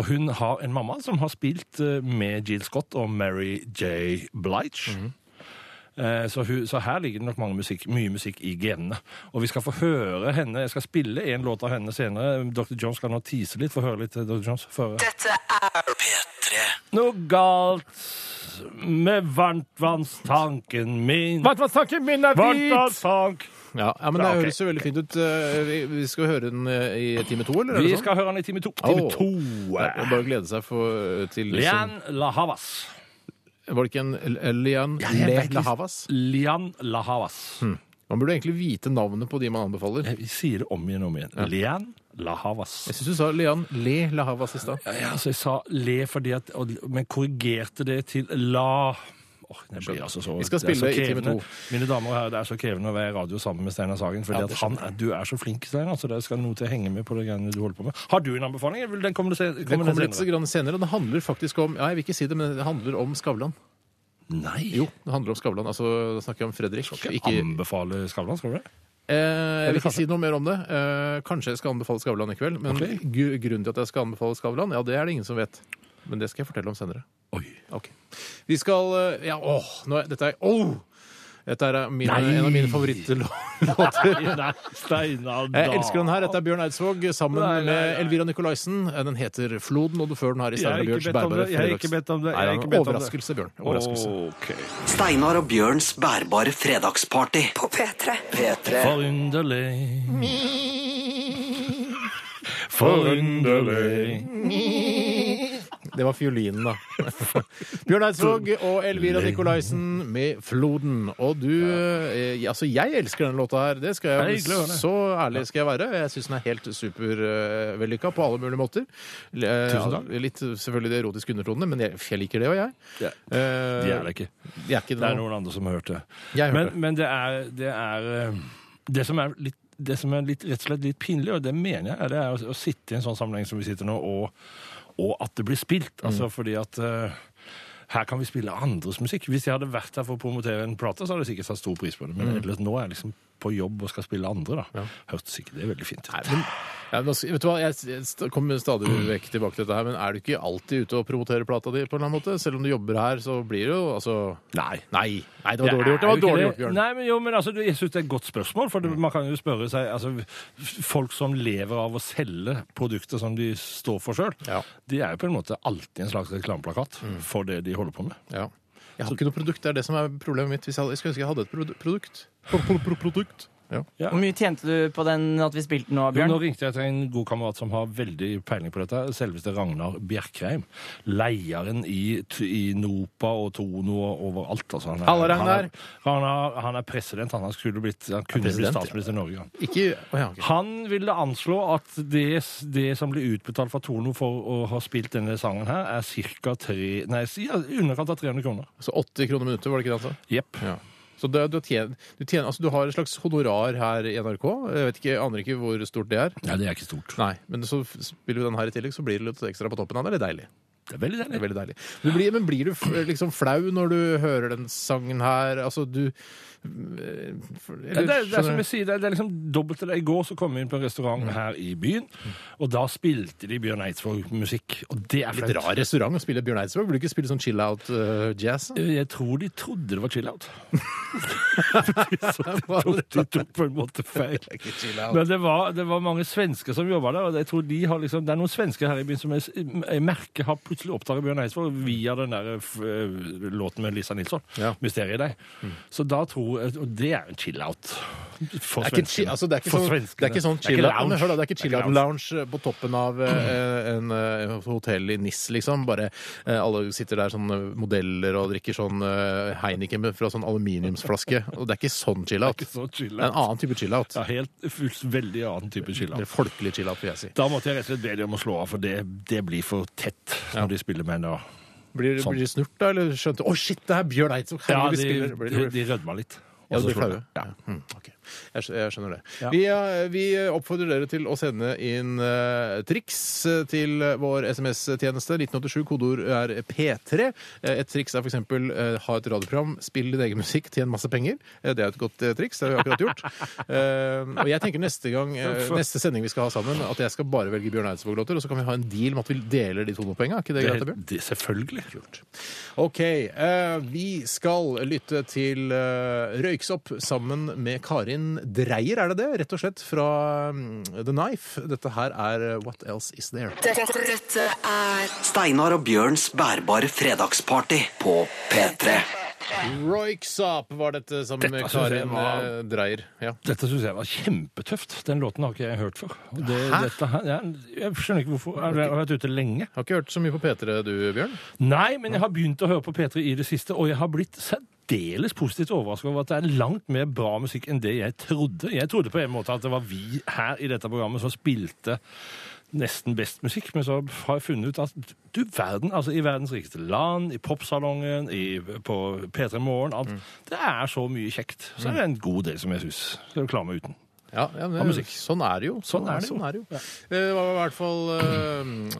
[SPEAKER 4] Og hun har en mamma som har spilt eh, med Jill Scott og Mary J. Blige. Eh, Så, hun, så her ligger det nok mange musikk, mye musikk i genene. Og vi skal få høre henne. Jeg skal spille en låt av henne senere. Dr. Jones skal nå tease litt. Få høre litt, eh, Dr. Jones. Få høre.
[SPEAKER 5] Dette er
[SPEAKER 1] P3.
[SPEAKER 4] Noe galt med varmtvannstanken min.
[SPEAKER 6] Vannfasttanken min er hvit!
[SPEAKER 4] Varmtvannstank.
[SPEAKER 2] Ja, ja, men det
[SPEAKER 4] Ja, ok.
[SPEAKER 2] høres jo veldig fint ut. Eh, Vi, vi skal høre den eh, i time to, eller? er det
[SPEAKER 4] Vi
[SPEAKER 2] sånn?
[SPEAKER 4] skal høre den i time to. Time
[SPEAKER 2] Åh.
[SPEAKER 4] to.
[SPEAKER 2] Det er Bare å glede seg for, til liksom,
[SPEAKER 4] Lian La Havas.
[SPEAKER 2] Var det ikke en L- Lian
[SPEAKER 4] jeg
[SPEAKER 2] Le
[SPEAKER 4] vet litt-
[SPEAKER 2] La Havas?
[SPEAKER 4] Lian La Havas.
[SPEAKER 2] Man burde egentlig vite navnet på de man anbefaler.
[SPEAKER 4] Jeg sier det om igjen og om igjen. Lian La Havas.
[SPEAKER 2] Jeg syns du sa Lian Le La Havas i stad.
[SPEAKER 4] Ja, altså jeg sa le fordi at og, Men korrigerte det til la Åh, jeg blir altså så,
[SPEAKER 2] Vi skal
[SPEAKER 4] det er så
[SPEAKER 2] spille i time
[SPEAKER 4] krevende.
[SPEAKER 2] to.
[SPEAKER 4] Mine damer og herrer, det er så krevende å være i radio sammen med Steinar Sagen. Fordi
[SPEAKER 2] Ja, det
[SPEAKER 4] at han, er- du er så flink, Steinar. Så det skal noe til å henge med på det greiene du holder på med. Har du en anbefaling? eller Den kommer, du se,
[SPEAKER 2] Det
[SPEAKER 4] kommer,
[SPEAKER 2] kommer
[SPEAKER 4] den
[SPEAKER 2] litt så
[SPEAKER 4] senere.
[SPEAKER 2] grann senere, og det handler faktisk om ja, Jeg vil ikke si det, men det handler om Skavlan.
[SPEAKER 4] Nei!
[SPEAKER 2] Jo, det handler om Skavlan. Altså, da snakker jeg om Fredrik.
[SPEAKER 4] Skal
[SPEAKER 2] Ikke,
[SPEAKER 4] ikke anbefale Skavlan, skal du det?
[SPEAKER 2] eh, jeg vil
[SPEAKER 4] Eller
[SPEAKER 2] ikke si noe mer om det. Eh, kanskje jeg skal anbefale Skavlan i kveld. Men
[SPEAKER 4] Ok.
[SPEAKER 2] gu- grunnen til at jeg skal anbefale Skavlan, ja, det er det ingen som vet. Men det skal jeg fortelle om senere.
[SPEAKER 4] Oi.
[SPEAKER 2] Ok. Vi skal eh, Ja, åh! Nå, er- dette er Åh! Dette er mine,
[SPEAKER 4] Nei.
[SPEAKER 2] en av mine favorittlåter.
[SPEAKER 4] Nei, Steinar da.
[SPEAKER 2] Jeg elsker den her. Dette er Bjørn Eidsvåg sammen
[SPEAKER 4] Nei,
[SPEAKER 2] med
[SPEAKER 4] nei, nei.
[SPEAKER 2] Elvira Nicolaisen. Den heter 'Floden', og du fører den her i
[SPEAKER 4] Jeg har
[SPEAKER 2] Steinar
[SPEAKER 4] ikke
[SPEAKER 2] Bjørns
[SPEAKER 4] bedt om
[SPEAKER 2] bærbare
[SPEAKER 4] det. Jeg har ikke
[SPEAKER 2] fredags-
[SPEAKER 4] bedt om det.
[SPEAKER 2] Nei,
[SPEAKER 4] Jeg har
[SPEAKER 2] det er
[SPEAKER 4] ikke
[SPEAKER 2] en
[SPEAKER 4] bedt om det.
[SPEAKER 2] Overraskelse, Bjørn. Overraskelse.
[SPEAKER 4] Ok.
[SPEAKER 1] Steinar og Bjørns bærbare fredagsparty.
[SPEAKER 5] på P3.
[SPEAKER 1] P3.
[SPEAKER 4] Forunderlig. Forunderlig.
[SPEAKER 2] Det var fiolinen, da. Bjørn Eidsvåg og Elvira Nicolaisen med 'Floden'. Og du eh, Altså, jeg elsker den låta her. Det skal jeg
[SPEAKER 4] Det er hyggelig å høre.
[SPEAKER 2] Så ærlig skal jeg være. Jeg syns den er helt supervellykka på alle mulige måter. Eh,
[SPEAKER 4] Tusen takk.
[SPEAKER 2] Litt selvfølgelig de erotiske undertonene, men jeg, jeg liker det, og jeg.
[SPEAKER 4] Ja.
[SPEAKER 2] Eh,
[SPEAKER 4] Det er det ikke.
[SPEAKER 2] jeg er ikke
[SPEAKER 4] Det er
[SPEAKER 2] noe-
[SPEAKER 4] noen andre som har hørt det.
[SPEAKER 2] Jeg hørte
[SPEAKER 4] Men, men det er, det er eh, Det som er litt det som er litt, rett og slett litt pinlig, og det mener jeg, det er å, å sitte i en sånn sammenheng som vi sitter nå, og, og at det blir spilt. Altså fordi at eh, her kan vi spille andres musikk. Hvis jeg hadde vært her for å promotere en plate, så hadde jeg sikkert satt stor pris på det. Men ellers nå er jeg liksom på jobb og skal spille andre, da. Hørtes ikke det veldig fint ut.
[SPEAKER 2] Ja, nå, vet du hva, Jeg st- kommer stadig vekk tilbake til dette, her, men er du ikke alltid ute og promoterer plata di? på en eller annen måte? Selv om du jobber her, så blir det jo altså
[SPEAKER 4] Nei.
[SPEAKER 2] Nei, nei det var
[SPEAKER 4] Det
[SPEAKER 2] dårlig gjort. Det
[SPEAKER 4] er
[SPEAKER 2] var
[SPEAKER 4] jo ikke
[SPEAKER 2] dårlig gjort, Bjørn. Mm.
[SPEAKER 4] Nei, men, jo, men altså, du, jeg synes det er et godt spørsmål, for det, man kan jo spørre seg, altså, f- folk som lever av å selge produkter som de står for selv,
[SPEAKER 2] Ja. Mm.
[SPEAKER 4] de er jo på en måte alltid en slags reklameplakat for det de holder på med.
[SPEAKER 2] Ja. Jeg har ikke noe produkt. Det er det som er problemet mitt. Hvis jeg, hadde- jeg skulle ønske jeg hadde et produ- produkt. Pro pro pro produkt. Ja.
[SPEAKER 4] Ja.
[SPEAKER 3] Hvor mye tjente du på den at vi spilte nå,
[SPEAKER 4] Jo, Nå
[SPEAKER 3] Bjørn?
[SPEAKER 4] ringte jeg til en god kamerat som har veldig peiling på dette, selveste Ragnar Bjerkreim, leieren i, t- i Nopa og Tono og overalt. Altså, han er,
[SPEAKER 2] Halla, Ragnar.
[SPEAKER 4] Han er, han er, han er president, han, han, skulle blitt, han kunne
[SPEAKER 2] President,
[SPEAKER 4] blitt statsminister i Norge. Han.
[SPEAKER 2] Ikke Å ja, ok.
[SPEAKER 4] Han ville anslå at det, det som blir utbetalt fra Tono for å ha spilt denne sangen her, er cirka tre, nei, si- ja, i underkant av 300 kroner.
[SPEAKER 2] Så 80 kroner minuttet, var det ikke det han sa?
[SPEAKER 4] Jepp.
[SPEAKER 2] Ja. Så det, du, tjener, du, tjener, altså, du har et slags honorar her i NRK. Jeg vet ikke, jeg aner ikke hvor stort det er.
[SPEAKER 4] Nei, det er ikke stort.
[SPEAKER 2] Nei, Men så f- spiller du den her i tillegg, så blir det litt ekstra på toppen av det. Det er deilig.
[SPEAKER 4] Det er veldig
[SPEAKER 2] Det er
[SPEAKER 4] deilig.
[SPEAKER 2] veldig deilig. Du blir, men blir du f- liksom flau når du hører den sangen her? Altså, du eh,
[SPEAKER 4] Ja, det, er, det er som jeg sier, det er, det er liksom dobbelt til det. I går så kom vi inn på en restaurant her i byen, og da spilte de Bjørn Eidsvåg-musikk, og det er
[SPEAKER 2] Litt rar
[SPEAKER 4] flaut.
[SPEAKER 2] restaurant å spille Bjørn Eidsvåg. Vil du ikke spille sånn chill-out-jazz?
[SPEAKER 4] Jeg tror de trodde det var chill-out. så de tok, de tok på en måte feil. Men det var, det var mange svensker som jobba der, og jeg tror de har liksom, det er noen svensker her i byen som jeg, jeg merker har plutselig oppdaget Bjørn Eidsvåg via den der eh, f, låten med Lisa Nilsson,
[SPEAKER 2] Ja.
[SPEAKER 4] 'Mysteriet i deg'.
[SPEAKER 2] Mm.
[SPEAKER 4] Så da tror jeg, Og det er jo en chill-out for
[SPEAKER 2] Det er, ikke, chi-
[SPEAKER 4] svenskene.
[SPEAKER 2] altså, det, er ikke
[SPEAKER 4] For
[SPEAKER 2] sånn,
[SPEAKER 4] svenskene.
[SPEAKER 2] det er ikke sånn
[SPEAKER 4] Det er ikke
[SPEAKER 2] chill out,
[SPEAKER 4] lounge.
[SPEAKER 2] men hør da, det er ikke chill
[SPEAKER 4] Det er
[SPEAKER 2] out
[SPEAKER 4] ikke Mm.
[SPEAKER 2] lounge på toppen av eh, en eh, hotell i NIS, liksom. Bare eh, alle sitter der sånn eh, modeller og drikker sånn eh, Heineken med- fra sånn aluminiumsflaske. Og det er ikke sånn chill out.
[SPEAKER 4] ikke sånn chill-out.
[SPEAKER 2] Det er en annen type chill out.
[SPEAKER 4] Ja, helt, fullt- veldig annen type
[SPEAKER 2] Eller
[SPEAKER 4] chill-out.
[SPEAKER 2] Folkelig chill out, vil jeg si.
[SPEAKER 4] Da måtte jeg rett og slett be dem om å slå av, for det, det blir for tett når de spiller med en da.
[SPEAKER 2] Blir,
[SPEAKER 4] Sånn.
[SPEAKER 2] blir de snurt da, eller skjønte Å, shit, det er Bjørn Eidsvåg!
[SPEAKER 4] Ja,
[SPEAKER 2] Herregud, vi
[SPEAKER 4] de,
[SPEAKER 2] spiller. Blir
[SPEAKER 4] de,
[SPEAKER 2] det-
[SPEAKER 4] de rødma litt.
[SPEAKER 2] Ja, du
[SPEAKER 4] Og så
[SPEAKER 2] blir
[SPEAKER 4] slo
[SPEAKER 2] flau?
[SPEAKER 4] de. Ja.
[SPEAKER 2] Mm, ok. jeg, skj- jeg skjønner det. Vi, eh, vi oppfordrer dere til å sende inn eh, triks eh, til vår SMS-tjeneste. 1987, kodeord er P3. Eh, Et triks er f.eks. ha et radioprogram, spill din egen musikk, tjen masse penger. Eh, Det er et godt eh, triks. Det har vi akkurat gjort. Eh, Og jeg tenker neste gang, eh, neste sending vi skal ha sammen, at jeg skal bare velge Bjørn Eidsvåg-låter, og så kan vi ha en deal med at vi deler de tonopenga. Er ikke det greit, da, Bjørn?
[SPEAKER 4] Det, det, selvfølgelig.
[SPEAKER 2] Ok, eh, vi skal lytte til eh, Røyksopp sammen med Karin Dreier, er det det? Rett og slett fra mm, The Knife. Dette her er eh, What Else Is There.
[SPEAKER 5] Dette, dette er
[SPEAKER 1] Steinar og Bjørns bærbare fredagsparty på P3.
[SPEAKER 2] Røyksopp var dette sammen med
[SPEAKER 4] Dette synes jeg
[SPEAKER 2] Karin
[SPEAKER 4] var-
[SPEAKER 2] eh, Dreier. Ja.
[SPEAKER 4] Dette syns jeg var kjempetøft. Den låten har ikke jeg hørt før. Og Det,
[SPEAKER 2] Hæ?
[SPEAKER 4] dette her, jeg, jeg skjønner ikke hvorfor. Jeg har vært ute lenge.
[SPEAKER 2] Har ikke hørt så mye på P3 du, Bjørn?
[SPEAKER 4] Nei, men jeg har begynt å høre på P3 i det siste, og jeg har blitt særdeles positivt overrasket over at det er langt mer bra musikk enn det jeg trodde. Jeg trodde på en måte at det var vi her i dette programmet som spilte nesten best musikk, men så har jeg funnet ut at du verden, altså i verdens rikeste land, i popsalongen, i, på P3 Morgen, alt, det er så mye kjekt. Så er det en god del som jeg synes skal klare meg uten.
[SPEAKER 2] Ja, ja men,
[SPEAKER 4] Og musikk.
[SPEAKER 2] Sånn er det jo.
[SPEAKER 4] Sånn er det jo.
[SPEAKER 2] Det var i hvert fall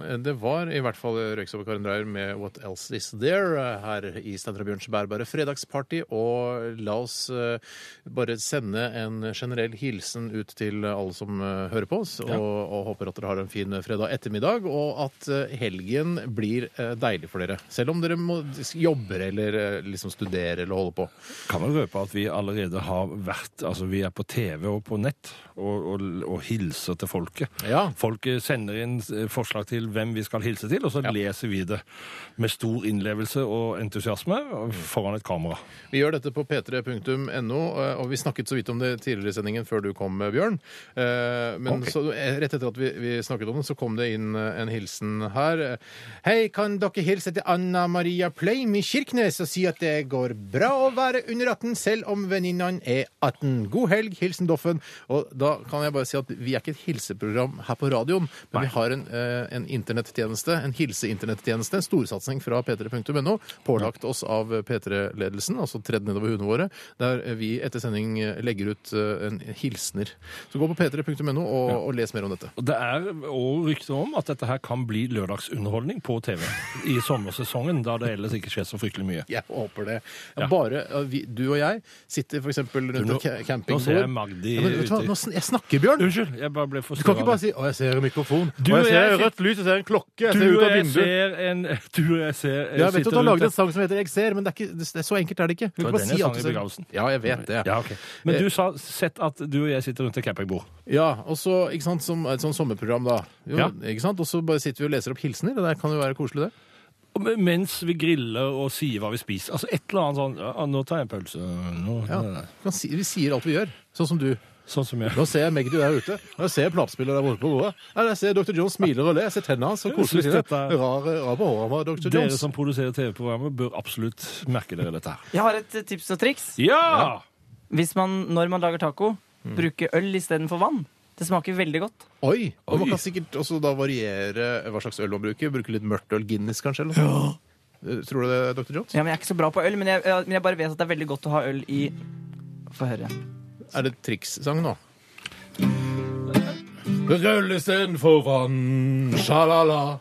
[SPEAKER 2] eh, Det var i hvert fall Røyksopp og Karin Dreyer med What Else Is There eh, her i Steinar og Bjørns bærbare fredagsparty. Og la oss eh, bare sende en generell hilsen ut til alle som eh, hører på oss, og, og håper at dere har en fin fredag ettermiddag, og at eh, helgen blir eh, deilig for dere. Selv om dere må, jobber eller eh, liksom studerer eller holder på.
[SPEAKER 4] Kan vel røpe at vi allerede har vært Altså, vi er på TV og på nett og, og, og hilser til folket.
[SPEAKER 2] Ja.
[SPEAKER 4] Folk eh, sender inn eh, forslag til hvem vi skal hilse til, og så leser vi det med stor innlevelse og entusiasme og foran et kamera.
[SPEAKER 2] Vi gjør dette på p3.no, eh, og vi snakket så vidt om det tidligere i sendingen før du kom, Bjørn. Eh, Men
[SPEAKER 4] Ok.
[SPEAKER 2] så, eh, rett etter at vi, vi snakket om det, så kom det inn eh, en hilsen her. Hei, kan dere hilse til Anna Maria Pleim i Kirkenes og si at det går bra å være under 18 selv om venninnene er 18? God helg, hilsen Doffen. Og da kan jeg bare si at vi er ikke et hilseprogram her på radioen, men vi har en, eh, en internettjeneste, en hilseinternettjeneste, en storsatsing fra p3.no, pålagt oss av P3-ledelsen, altså tredd nedover hodene våre, der vi etter sending legger ut eh, en hilsener. Så gå på p3.no og, og les mer om dette.
[SPEAKER 4] Og Det er òg rykter om at dette her kan bli lørdagsunderholdning på TV i sommersesongen, da det ellers ikke skjer så fryktelig mye.
[SPEAKER 2] Jeg håper det. Bare eh, vi, du og jeg sitter for eksempel rundt
[SPEAKER 4] nå-
[SPEAKER 2] en ca-
[SPEAKER 4] nå
[SPEAKER 2] campingbord.
[SPEAKER 4] ser jeg Magdi
[SPEAKER 2] ja, men, vet du hva?
[SPEAKER 4] ute i-
[SPEAKER 2] Nå sn jeg snakker, Bjørn!
[SPEAKER 4] Unnskyld, jeg bare ble
[SPEAKER 2] Du kan ikke
[SPEAKER 4] forstyrra.
[SPEAKER 2] bare si 'Å, jeg ser en mikrofon',
[SPEAKER 4] Du
[SPEAKER 2] og jeg
[SPEAKER 4] og
[SPEAKER 2] ser
[SPEAKER 4] jeg
[SPEAKER 2] rødt lys, jeg ser en klokke, jeg
[SPEAKER 4] Du
[SPEAKER 2] ser ut
[SPEAKER 4] og
[SPEAKER 2] av
[SPEAKER 4] jeg
[SPEAKER 2] vinduet.
[SPEAKER 4] ser en Du og jeg ser
[SPEAKER 2] Ja, jeg vet at
[SPEAKER 4] sitter
[SPEAKER 2] du har
[SPEAKER 4] rundt
[SPEAKER 2] laget
[SPEAKER 4] der.
[SPEAKER 2] en sang som heter 'Jeg ser', men det er ikke, det er så enkelt er det ikke. Du
[SPEAKER 4] var
[SPEAKER 2] kan bare
[SPEAKER 4] den jeg
[SPEAKER 2] si
[SPEAKER 4] sang
[SPEAKER 2] at
[SPEAKER 4] i
[SPEAKER 2] du ser-
[SPEAKER 4] begravelsen.
[SPEAKER 2] Ja, jeg vet det.
[SPEAKER 4] Ja, ok. Men du sa sett at du og jeg sitter rundt et campingbord.
[SPEAKER 2] Ja, og så, ikke sant, som et sånt sommerprogram, da. Jo,
[SPEAKER 4] Ja.
[SPEAKER 2] ikke sant? Og så bare sitter vi og leser opp hilsener, og det kan jo være koselig, det.
[SPEAKER 4] Og men- Mens vi griller og sier hva vi spiser. Altså et eller annet sånn ja, 'Nå tar jeg en pølse.' øh, Nå,
[SPEAKER 2] Ja.
[SPEAKER 4] nå-
[SPEAKER 2] Vi kan Si, vi sier alt vi gjør, sånn som du.
[SPEAKER 4] Sånn som jeg
[SPEAKER 2] Nå ser jeg Magdi der ute, og jeg ser platespiller der borte på bordet. Eller jeg ser Dr. Jones smiler og ler, jeg ser tennene hans, så
[SPEAKER 4] Jeg
[SPEAKER 2] koselig. sier det.
[SPEAKER 4] synes dette er-
[SPEAKER 2] Rar, rar på håret var Dr.
[SPEAKER 4] Dere
[SPEAKER 2] Jones.
[SPEAKER 4] som produserer TV-programmet, bør absolutt merke dere dette her.
[SPEAKER 3] Jeg har et eh, tips og triks.
[SPEAKER 4] Ja!
[SPEAKER 3] Hvis man, når man lager taco,
[SPEAKER 2] Mm.
[SPEAKER 3] bruker øl istedenfor vann. Det smaker veldig godt.
[SPEAKER 2] Oi! Og man
[SPEAKER 4] Oi.
[SPEAKER 2] kan sikkert også da variere hva slags øl man bruker. Bruke litt mørkt øl, Guinness kanskje? Eller noe. Eh, Tror du det, Dr. Jones?
[SPEAKER 3] Ja, men Jeg er ikke så bra på øl, men jeg, men jeg bare vet at det er veldig godt å ha øl i Få høre.
[SPEAKER 2] Er det trikssang nå? Røll istedenfor vann, sjalala.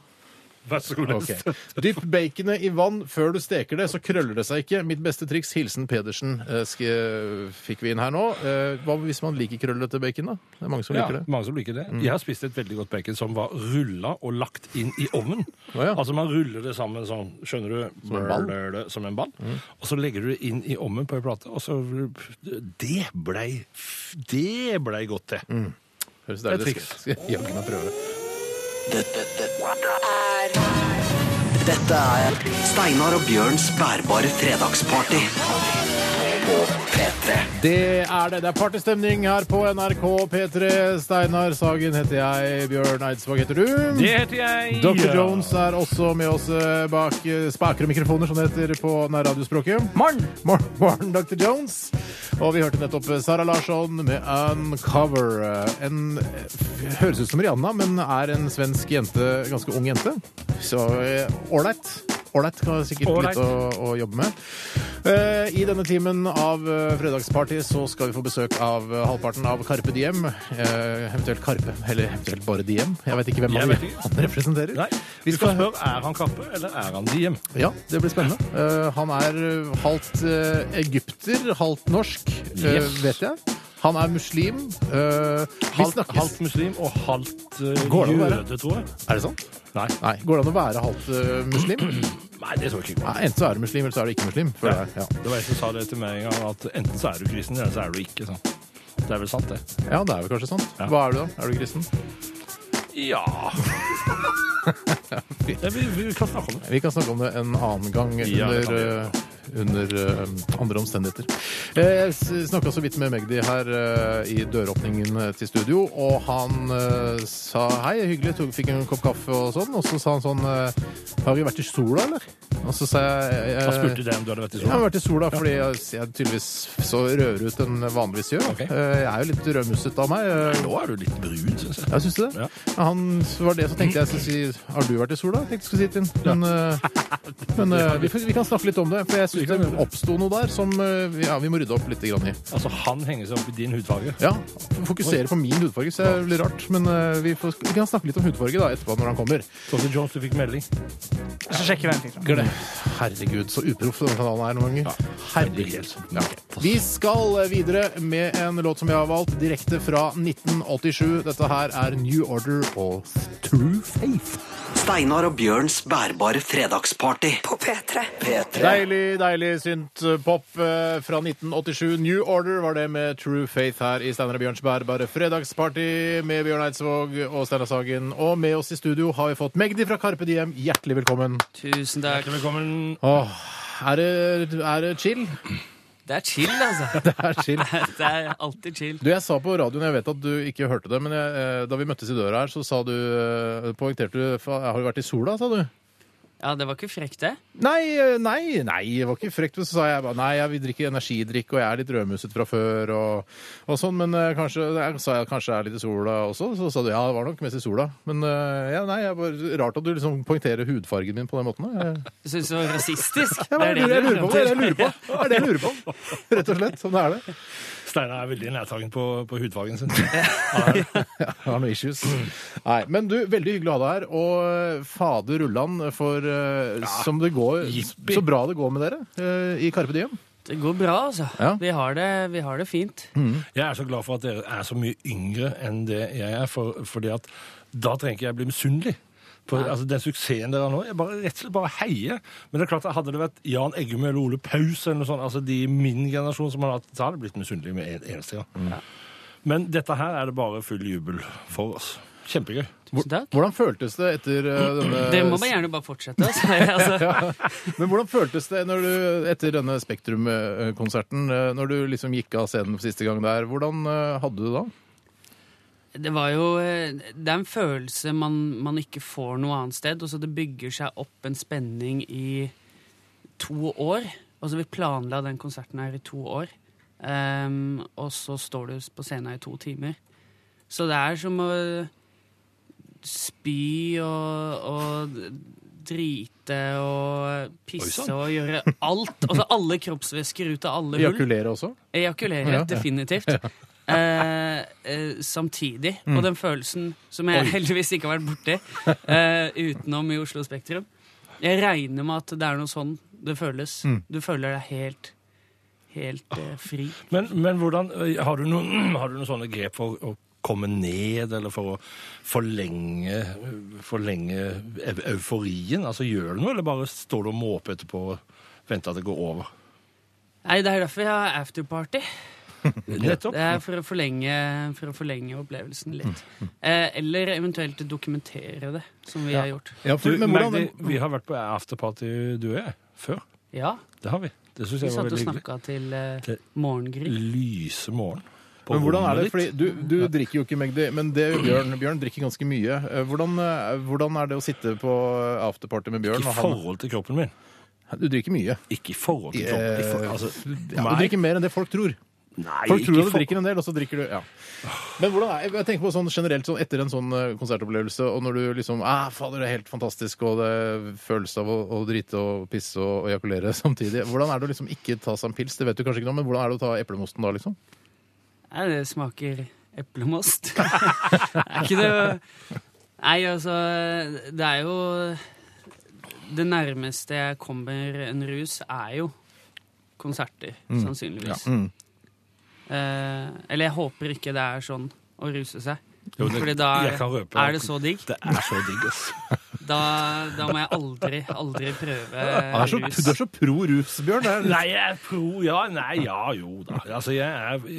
[SPEAKER 4] Vær så god.
[SPEAKER 2] Ok. Dypp baconet i vann før du steker det, så krøller det seg ikke. Mitt beste triks, hilsen Pedersen, eh, sk- fikk vi inn her nå. Eh, Hva hvis man liker krøllete bacon, da? Det er mange som
[SPEAKER 4] Ja,
[SPEAKER 2] liker det. Mm.
[SPEAKER 4] mange som liker det. Jeg har spist et veldig godt bacon som var rulla og lagt inn i ovnen.
[SPEAKER 2] Å ja.
[SPEAKER 4] Altså man ruller det sammen sånn, skjønner du,
[SPEAKER 2] Som en ball? Mm.
[SPEAKER 4] Brrrr, som en ball. Og så legger du det inn i ovnen på en plate, og så Det blei Det blei godt, det.
[SPEAKER 2] Mm. Høres deilig
[SPEAKER 4] Det er
[SPEAKER 2] ut. Skal jeg jaggu meg prøve.
[SPEAKER 1] Dette, dette er Steinar og Bjørns bærbare fredagsparty på P3.
[SPEAKER 2] Det er det. Det er partystemning her på NRK P3. Steinar Sagen heter jeg. Bjørn Eidsvåg heter du.
[SPEAKER 4] Det heter jeg.
[SPEAKER 2] Dr. Jones er også med oss eh, bak eh, spaker og mikrofoner, som det heter på nærradiospråket.
[SPEAKER 3] Morn!
[SPEAKER 2] Morgen, morgen, Dr. Jones. Og vi hørte nettopp Sara Larsson med 'Uncover'. En, eh, høres ut som Rihanna, men er en svensk jente, ganske ung jente. Så eh, ålreit. Ålreit kan jeg sikkert
[SPEAKER 4] Ålreit.
[SPEAKER 2] litt å, å jobbe med. Eh, I denne timen av eh, Fredagsparty så skal vi få besøk av eh, halvparten av Carpe Diem. Eh, eventuelt Carpe, eller eventuelt bare Diem. Jeg vet ikke hvem
[SPEAKER 4] Jeg
[SPEAKER 2] han,
[SPEAKER 4] vet ikke.
[SPEAKER 2] han representerer.
[SPEAKER 4] Nei,
[SPEAKER 2] Vi
[SPEAKER 4] vi
[SPEAKER 2] skal
[SPEAKER 4] skal spørre er han Kappe eller er han Diem.
[SPEAKER 2] Ja, det blir spennende. Eh, han er eh, halvt eh, egypter, halvt norsk, eh,
[SPEAKER 4] Yes.
[SPEAKER 2] vet jeg. Han er muslim. eh, vi
[SPEAKER 4] Halvt,
[SPEAKER 2] snakkes.
[SPEAKER 4] halvt muslim og halvt eh,
[SPEAKER 2] Går det an å
[SPEAKER 4] jøde, tror jeg.
[SPEAKER 2] Er det sant?
[SPEAKER 4] Nei.
[SPEAKER 2] Nei. Går det an å være halvt eh, muslim?
[SPEAKER 4] Nei, det tror jeg ikke.
[SPEAKER 2] Nei, enten så er du muslim, eller så er du ikke muslim. føler jeg. Ja.
[SPEAKER 4] Det var en som sa det til meg en gang, at enten så er du kristen, eller så er du ikke. sant? Det er vel sant, det.
[SPEAKER 2] ja, det er vel kanskje sant.
[SPEAKER 4] Ja.
[SPEAKER 2] Hva er du da? Er du kristen?
[SPEAKER 4] Ja vi, vi kan snakke om det.
[SPEAKER 2] Vi kan snakke om det en annen gang
[SPEAKER 4] Ja, det kan vi
[SPEAKER 2] under,
[SPEAKER 4] gjøre.
[SPEAKER 2] eh, under eh, andre omstendigheter. Eh, Jeg snakka så vidt med Magdi her eh, i døråpningen eh, til studio, og han eh, sa hei, hyggelig, tok, fikk en kopp kaffe og sånn, og så sa han sånn eh, Har vi vært i sola, eller? Og så sa jeg eh,
[SPEAKER 4] Han spurte deg om du hadde vært i
[SPEAKER 2] jeg har
[SPEAKER 4] sola.
[SPEAKER 2] vært i sola fordi jeg jeg er tydeligvis så rødere ut enn jeg vanligvis gjør.
[SPEAKER 4] Ok.
[SPEAKER 2] Eh, Jeg er jo litt rødmusset av meg. eh,
[SPEAKER 4] Nå er du litt brun, syns jeg.
[SPEAKER 2] ja, syns du det?
[SPEAKER 4] Ja.
[SPEAKER 2] Han var det, så tenkte jeg skulle si Har du vært i sola? tenkte jeg skulle si til ham. Men, eh, men eh, vi, får- vi kan snakke litt om det, for jeg syns det oppsto noe der som eh, vi- ja, vi må rydde opp litt grann i.
[SPEAKER 4] Altså, han henger seg opp i din hudfarge.
[SPEAKER 2] Ja, Fokusere på min hudfarge, så er det litt rart. Men eh, vi, får, vi kan snakke litt om hudfarge da, etterpå når han kommer.
[SPEAKER 4] Dr. Jones, du fikk melding.
[SPEAKER 3] Så sjekker vi hvem fikk den.
[SPEAKER 2] Glem. Herregud, så uproff denne kanalen er noen ganger. Herregud. Ja, ok. Vi skal eh, videre med en låt som jeg har valgt, direkte fra 1987. Dette her er New Order og True Faith.
[SPEAKER 1] Steinar og Bjørns bærbare fredagsparty
[SPEAKER 5] På P3.
[SPEAKER 1] P3.
[SPEAKER 2] Deilig, deilig synt-pop eh, fra 1987. New Order var det med True Faith her i Steinar og Bjørnsberg. Bare fredagsparty med Bjørn Eidsvåg og Steinar Sagen. Og med oss i studio har vi fått Magdi fra Carpe Diem. Hjertelig velkommen.
[SPEAKER 7] Tusen takk.
[SPEAKER 4] Hjertelig velkommen.
[SPEAKER 2] Åh, er det, er det chill?
[SPEAKER 7] Det er chill, altså.
[SPEAKER 2] Det er chill.
[SPEAKER 7] Det er alltid chill.
[SPEAKER 2] Du, jeg sa på radioen, jeg vet at du ikke hørte det, men jeg, eh, da vi møttes i døra her, så sa du eh, Poengterte du fa- Har du vært i sola, sa du?
[SPEAKER 7] Ja, det var ikke frekt, det.
[SPEAKER 2] Nei, eh, nei, nei, det var ikke frekt. Men så sa jeg bare nei, jeg vil drikke energidrikk, og jeg er litt rødmuset fra før, og, og sånn. Men eh, kanskje, jeg sa jeg kanskje jeg er litt i sola også. Så sa du ja, det var nok mest i sola. Men eh, ja, nei, jeg bare, rart at du liksom poengterer hudfargen min på den måten. da. Jeg,
[SPEAKER 7] Du synes det var rasistisk.
[SPEAKER 2] jeg, bare, lurer- jeg lurer på det er det jeg lurer på.
[SPEAKER 7] Ja.
[SPEAKER 2] Det er det jeg lurer på. Rett og slett. Sånn er det.
[SPEAKER 4] Steinar er veldig nærtagen på, på hudfargen sin.
[SPEAKER 2] Jeg har noen issues. Nei, men du, veldig hyggelig å ha deg her. Og eh, fader Ulland for eh, som det går,
[SPEAKER 4] jippi.
[SPEAKER 2] så bra det går med dere eh, i Carpe Diem.
[SPEAKER 7] Det går bra, altså.
[SPEAKER 2] Ja.
[SPEAKER 7] Vi, har det, vi har det fint.
[SPEAKER 4] Jeg er så glad for at dere er så mye yngre enn det jeg er, for, fordi at da trenger ikke jeg bli misunnelig. For, altså, den suksessen dere har nå, jeg bare, rett og slett bare heier. Men det er klart, at hadde det vært Jan Eggum eller Ole Paus eller noe sånt, altså de i min generasjon som hadde hatt, så hadde jeg blitt misunnelig med en eneste gang. Men dette her er det bare full jubel for oss. Kjempegøy.
[SPEAKER 7] Tusen takk. Mm,
[SPEAKER 2] Hvordan føltes det etter eh, denne
[SPEAKER 7] Det må man gjerne bare fortsette. Altså. Altså,
[SPEAKER 2] Men hvordan føltes det når du, etter denne Spektrum-konserten, eh, når du liksom gikk av scenen siste gang der, hvordan eh, hadde du det da?
[SPEAKER 7] det var jo eh, Det er en følelse man, man ikke får noe annet sted, og så det bygger seg opp en spenning i to år. Og så vi planla den konserten her i to år, Ehm, og så står du på scenen i to timer. Så det er eh, som å spy og, og drite svette og pisse
[SPEAKER 4] sann.
[SPEAKER 7] og gjøre alt. Altså alle kroppsvæsker ut av alle hull.
[SPEAKER 2] Ejakulere også?
[SPEAKER 7] Ejakulere,
[SPEAKER 2] Ja.
[SPEAKER 7] definitivt. Eh, eh, samtidig.
[SPEAKER 4] Mm.
[SPEAKER 7] Og den følelsen som jeg heldigvis ikke har vært borti eh, utenom i Oslo Spektrum. Jeg regner med at det er noe sånn det føles.
[SPEAKER 4] Mm.
[SPEAKER 7] Du føler deg helt, helt eh, fri.
[SPEAKER 4] Men, men hvordan, eh, har, du noen, har du noen sånne grep for å komme ned, eller for å forlenge, forlenge eu- euforien? Altså, gjør du noe, eller bare står du og måper etterpå og venter at det går over?
[SPEAKER 7] Nei, det er derfor jeg har afterparty.
[SPEAKER 4] Nettopp.
[SPEAKER 7] Det er for å forlenge, for å forlenge opplevelsen
[SPEAKER 4] Mm.
[SPEAKER 7] litt. Eh, eller eventuelt dokumentere det, som vi har gjort.
[SPEAKER 2] Ja,
[SPEAKER 4] Du,
[SPEAKER 2] for, men hvordan,
[SPEAKER 4] Magdi, vi har vært på afterparty du er, før.
[SPEAKER 7] Ja,
[SPEAKER 4] Det har vi. Det syns
[SPEAKER 7] vi
[SPEAKER 4] jeg var
[SPEAKER 7] satt og
[SPEAKER 4] veldig hyggelig.
[SPEAKER 7] snakka til eh,
[SPEAKER 4] Til-
[SPEAKER 7] morgengry.
[SPEAKER 4] Lyse morgen. på
[SPEAKER 2] men hvordan er det?
[SPEAKER 4] rommet
[SPEAKER 2] Fordi
[SPEAKER 4] ditt.
[SPEAKER 2] du, du drikker jo ikke, Magdi, men det gjør Bjørn, Bjørn drikker ganske mye. Eh, Hvordan, eh, hvordan er det å sitte på eh, afterparty med Bjørn?
[SPEAKER 4] Ikke i
[SPEAKER 2] og han-
[SPEAKER 4] forhold til kroppen min.
[SPEAKER 2] Du drikker mye.
[SPEAKER 4] Ikke i forhold til kroppen. I for,
[SPEAKER 2] Eh,
[SPEAKER 4] altså,
[SPEAKER 2] Ja, du
[SPEAKER 4] meg?
[SPEAKER 2] drikker mer enn det folk tror.
[SPEAKER 4] nei,
[SPEAKER 2] Folk
[SPEAKER 4] ikke
[SPEAKER 2] tror
[SPEAKER 4] i
[SPEAKER 2] at du
[SPEAKER 4] for-
[SPEAKER 2] drikker en del, og så drikker du ja. Men hvordan er, jeg tenker på sånn generelt sånn etter en sånn eh, konsertopplevelse, og når du liksom ah, Fader, det er helt fantastisk, og det er følelse av å, å drite og pisse og ejakulere samtidig. Hvordan er det å liksom ikke ta seg en pils? Det vet du kanskje ikke noe om, men hvordan er det å ta eplemosten da, liksom?
[SPEAKER 7] Nei, det smaker eplemost. er ikke det Nei, altså, det er jo Det nærmeste jeg kommer en rus, er jo konserter,
[SPEAKER 4] Mm.
[SPEAKER 7] sannsynligvis. Eh, eller jeg håper ikke det er sånn å ruse seg.
[SPEAKER 4] Jo, det-
[SPEAKER 7] Fordi da er,
[SPEAKER 4] jeg kan røpe
[SPEAKER 7] er det så digg.
[SPEAKER 4] Det er så digg, ass.
[SPEAKER 7] Da, da må jeg aldri, aldri prøve
[SPEAKER 2] Du er så,
[SPEAKER 7] rus.
[SPEAKER 2] du er så pro rus, Bjørn. Det er
[SPEAKER 4] Nei, jeg er pro, ja. Nei, ja, jo da. Altså, jeg er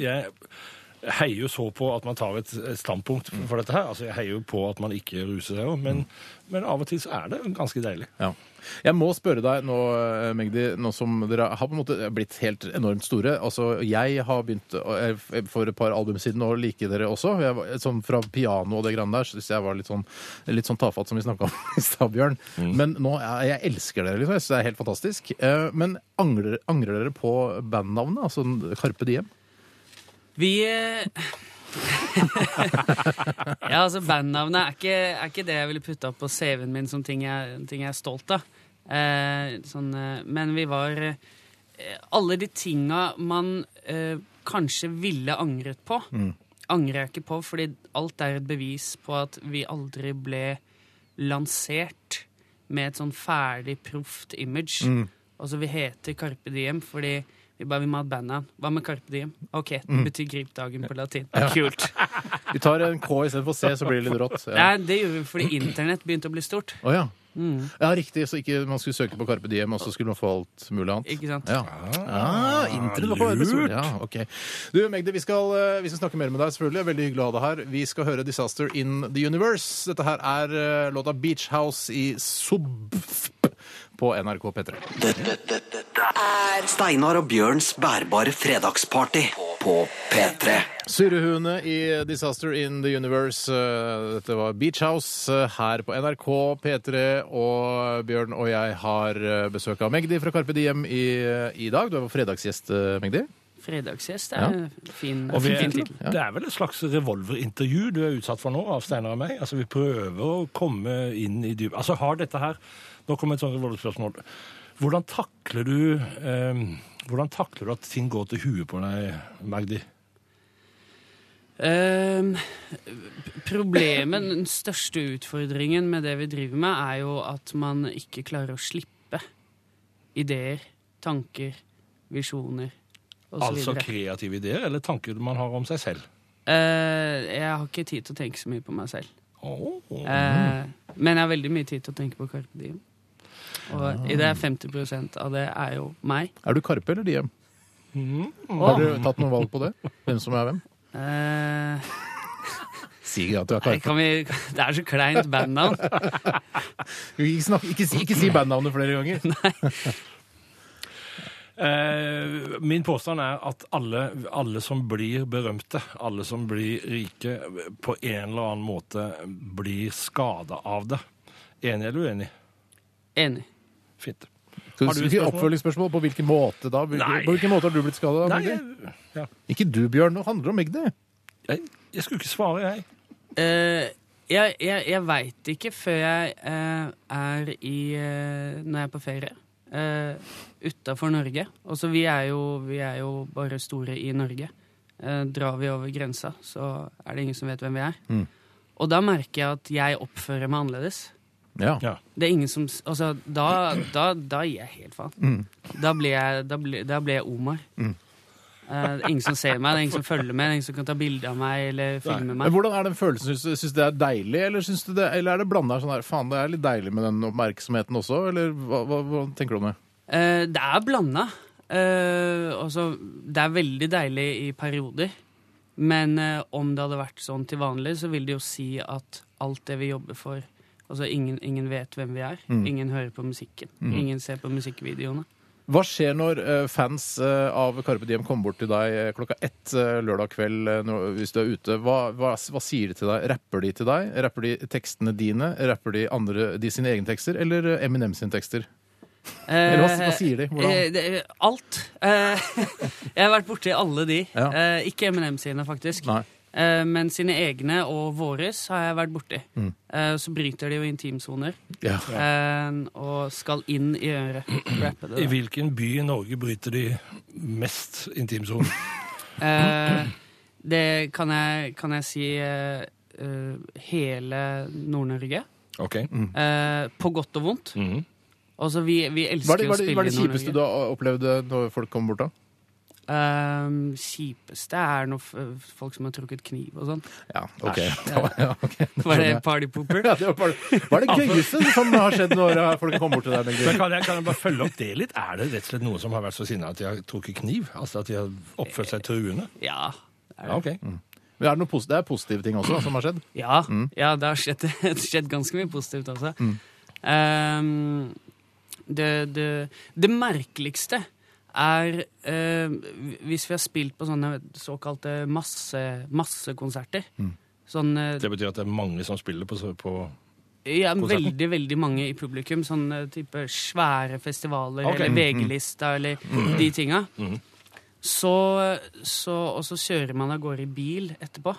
[SPEAKER 4] jeg heier jo så på at man tar et et standpunkt for dette her. Altså, Jeg heier jo på at man ikke ruser seg òg, men, men av og til så er det ganske deilig.
[SPEAKER 2] Ja. Jeg må spørre deg nå, eh, Magdi, nå som dere har på en måte blitt helt enormt store. Altså, jeg har begynt å- eh, f- for et par album siden å like dere også. Jeg var, sånn fra piano og det grann der syns jeg var litt sånn, litt sånn tafatt som vi snakka om i stad, Bjørn. Men nå er, jeg elsker dere, liksom. Jeg syns det er helt fantastisk. Eh, Men angrer, angrer dere på bandnavnet? Altså Karpe Diem?
[SPEAKER 7] Vi eh, Ja, altså bandnavnet er ikke, er ikke det jeg ville putta på CV-en min som ting jeg, ting jeg er stolt av. Eh, sånn, eh, men vi var eh, Alle de tinga man eh, kanskje ville angret på, angrer jeg ikke på, fordi alt er et bevis på at vi aldri ble lansert med et sånn ferdig, proft image. Altså, vi heter Carpe Diem fordi vi bare vil ha et bandnavn. Hva med Carpe Diem? Ok, det betyr Grip dagen på latin. Kult.
[SPEAKER 2] Vi tar en K istedenfor C, så blir det litt rått. Ja.
[SPEAKER 7] Nei, det gjorde vi fordi internett begynte å bli stort.
[SPEAKER 2] Å ja.
[SPEAKER 7] Mm.
[SPEAKER 2] ja, riktig. Så ikke man skulle søke på Carpe Diem, og så skulle man få alt mulig annet.
[SPEAKER 7] Ikke sant?
[SPEAKER 2] Ja. Ah, internett var på arbeid, sorry. Ja, ok. Du, Magdi, vi skal, eh, vi skal snakke mer med deg, selvfølgelig. Det er Veldig hyggelig å ha deg her. Vi skal høre 'Disaster in the Universe'. Dette her er eh, låta 'Beach House' i Subf på NRK P3.
[SPEAKER 1] Steinar og Bjørns bærbare fredagsparty på P3.
[SPEAKER 2] Surrehuene i 'Disaster in the Universe'. Eh, Dette var Beach House eh, her på NRK P3. Og Bjørn og jeg har eh, besøk av Magdi fra Carpe Diem i, eh, i dag. Du er vår fredagsgjest, eh, Magdi.
[SPEAKER 7] Fredagsgjest er en fin,
[SPEAKER 4] Og vi,
[SPEAKER 7] fin tittel.
[SPEAKER 4] det er vel et slags revolverintervju du er utsatt for nå, av Steinar og meg. Altså, Vi prøver å komme inn i dypet. Altså, har dette her Nå kommer et sånt revolverspørsmål. Hvordan takler du eh, Hvordan takler du at ting går til huet på deg, Magdi?
[SPEAKER 7] Ehm, p- problemet, den største utfordringen med det vi driver med, er jo at man ikke klarer å slippe ideer, tanker, visjoner osv.
[SPEAKER 4] Altså
[SPEAKER 7] Altså,
[SPEAKER 4] kreative ideer eller tanker man har om seg selv?
[SPEAKER 7] Eh, jeg har ikke tid til å tenke så mye på meg selv.
[SPEAKER 4] Åh.
[SPEAKER 7] Eh, men jeg har veldig mye tid til å tenke på Carpe Diem. Og i det er 50 av det er jo meg.
[SPEAKER 2] Er du Karpe eller Diem?
[SPEAKER 4] Mm-hmm.
[SPEAKER 2] Har du tatt noen valg på det? Hvem som er hvem?
[SPEAKER 7] Eh,
[SPEAKER 2] Si at du er
[SPEAKER 7] Nei,
[SPEAKER 2] Karpe.
[SPEAKER 7] kan vi, det er så kleint bandnavn.
[SPEAKER 2] Ikke, snakk, ikke, si, ikke si bandnavnet flere ganger.
[SPEAKER 4] Eh, min påstand er at alle, alle som blir berømte, alle som blir rike, på en eller annen måte blir skada av det. Enig eller uenig?
[SPEAKER 7] Enig.
[SPEAKER 4] Fint.
[SPEAKER 2] Skal
[SPEAKER 4] Har
[SPEAKER 2] du si
[SPEAKER 4] du spørsmål?
[SPEAKER 2] oppfølgingsspørsmål? På hvilken måte da? Hvilken,
[SPEAKER 4] Nei.
[SPEAKER 2] på hvilken måte har du blitt skada?
[SPEAKER 4] Nei,
[SPEAKER 2] Magdi?
[SPEAKER 4] jeg, ja.
[SPEAKER 2] Ikke du, Bjørn. Det handler om Magdi.
[SPEAKER 4] jeg, jeg skulle ikke svare, jeg.
[SPEAKER 7] Eh, Jeg, jeg, jeg veit ikke før jeg eh, er i eh, Når jeg er på ferie. Eh, Utafor Norge. Og så vi, er jo- vi er jo bare store i Norge. Eh, drar vi over grensa, så er det ingen som vet hvem vi er.
[SPEAKER 2] Mm.
[SPEAKER 7] Og da merker jeg at jeg oppfører meg annerledes.
[SPEAKER 2] Ja.
[SPEAKER 4] Ja.
[SPEAKER 7] Det er ingen som s- Altså, da, da, da gir jeg helt faen.
[SPEAKER 2] Mm.
[SPEAKER 7] Da blir jeg, da blir, da blir jeg Omar. Eh, det er ingen som ser meg, det er ingen som følger med, det er ingen som kan ta bilde av meg eller filme
[SPEAKER 2] Men
[SPEAKER 7] meg.
[SPEAKER 2] hvordan er den følelsen? Syns- Syns du det er deilig, eller, syns du det, eller er det blanda sånn her Faen, det er litt deilig med den oppmerksomheten også, eller hva, hva, hva tenker du om det?
[SPEAKER 7] Eh, det er blanda. Eh, altså, det er veldig deilig i perioder. Men eh, om det hadde vært sånn til vanlig, så vil det jo si at alt det vi jobber for Altså, ingen, ingen vet hvem vi er.
[SPEAKER 2] Mm.
[SPEAKER 7] Ingen hører på musikken. Ingen ser på musikkvideoene.
[SPEAKER 2] Hva skjer når eh, fans eh, av Carpe Diem kommer bort til deg eh, klokka ett eh, lørdag kveld eh, når- hvis du er ute? Hva, hva, hva sier de til deg? Rapper de til deg? Rapper de tekstene dine? Rapper de, andre, de sine egne tekster, eller eh, Eminem sine tekster? Eller hva, hva sier de? Hvordan?
[SPEAKER 7] Eh, det- alt. Eh, jeg har vært borti alle de.
[SPEAKER 2] Ja.
[SPEAKER 7] Eh, ikke Eminem sine, faktisk.
[SPEAKER 2] Nei.
[SPEAKER 7] Eh, men sine egne og våres har jeg vært borti. Eh, så bryter de jo intimsoner
[SPEAKER 2] Mm. Ja.
[SPEAKER 7] eh, og skal inn i øret. Rappe det.
[SPEAKER 4] I
[SPEAKER 7] da.
[SPEAKER 4] hvilken by i Norge bryter de mest intimsonen?
[SPEAKER 7] Eh, det kan jeg, kan jeg si eh, eh, hele Nord-Norge.
[SPEAKER 4] OK.
[SPEAKER 7] Eh, på godt og vondt.
[SPEAKER 4] Mhm.
[SPEAKER 7] Altså, vi,
[SPEAKER 2] Hva
[SPEAKER 7] vi
[SPEAKER 2] er
[SPEAKER 7] elsker
[SPEAKER 2] det,
[SPEAKER 7] å
[SPEAKER 2] hva er det, hva
[SPEAKER 7] spille
[SPEAKER 2] er det
[SPEAKER 7] i
[SPEAKER 2] kjipeste
[SPEAKER 7] Nord-Norge.
[SPEAKER 2] du har opplevd eh, når folk kommer bort da?
[SPEAKER 7] Eh, kjipeste er når f- folk som har trukket kniv og sånn.
[SPEAKER 2] Ja, ok.
[SPEAKER 7] Var det party pooper?
[SPEAKER 2] Ja, det var bare, hva er det gøyeste som har skjedd når eh, folk kommer bort til deg?
[SPEAKER 4] Men
[SPEAKER 2] Bengt?
[SPEAKER 4] kan jeg, kan jeg bare følge opp det litt? Er det rett og slett noen som har vært så sinna at de har trukket kniv? Altså at de har oppført seg truende?
[SPEAKER 7] Ja.
[SPEAKER 4] Ja, ok.
[SPEAKER 2] Men Er det, noe posi- det er positive ting også da, som har skjedd?
[SPEAKER 7] Ja, ja det har skjedd, det har skjedd ganske mye positivt også. Ehm, det, det, det merkeligste er ehm, hvis vi har spilt på sånne såkalte masse, massekonserter. Sånn eh,
[SPEAKER 4] Det betyr at det er mange som spiller på, så- på
[SPEAKER 7] ja,
[SPEAKER 4] konserten?
[SPEAKER 7] veldig, veldig mange i publikum. Sånne type svære festivaler
[SPEAKER 4] Ok. Mm,
[SPEAKER 7] eller VG-lista eller de tinga. Så, så, og så kjører man av gårde i bil etterpå.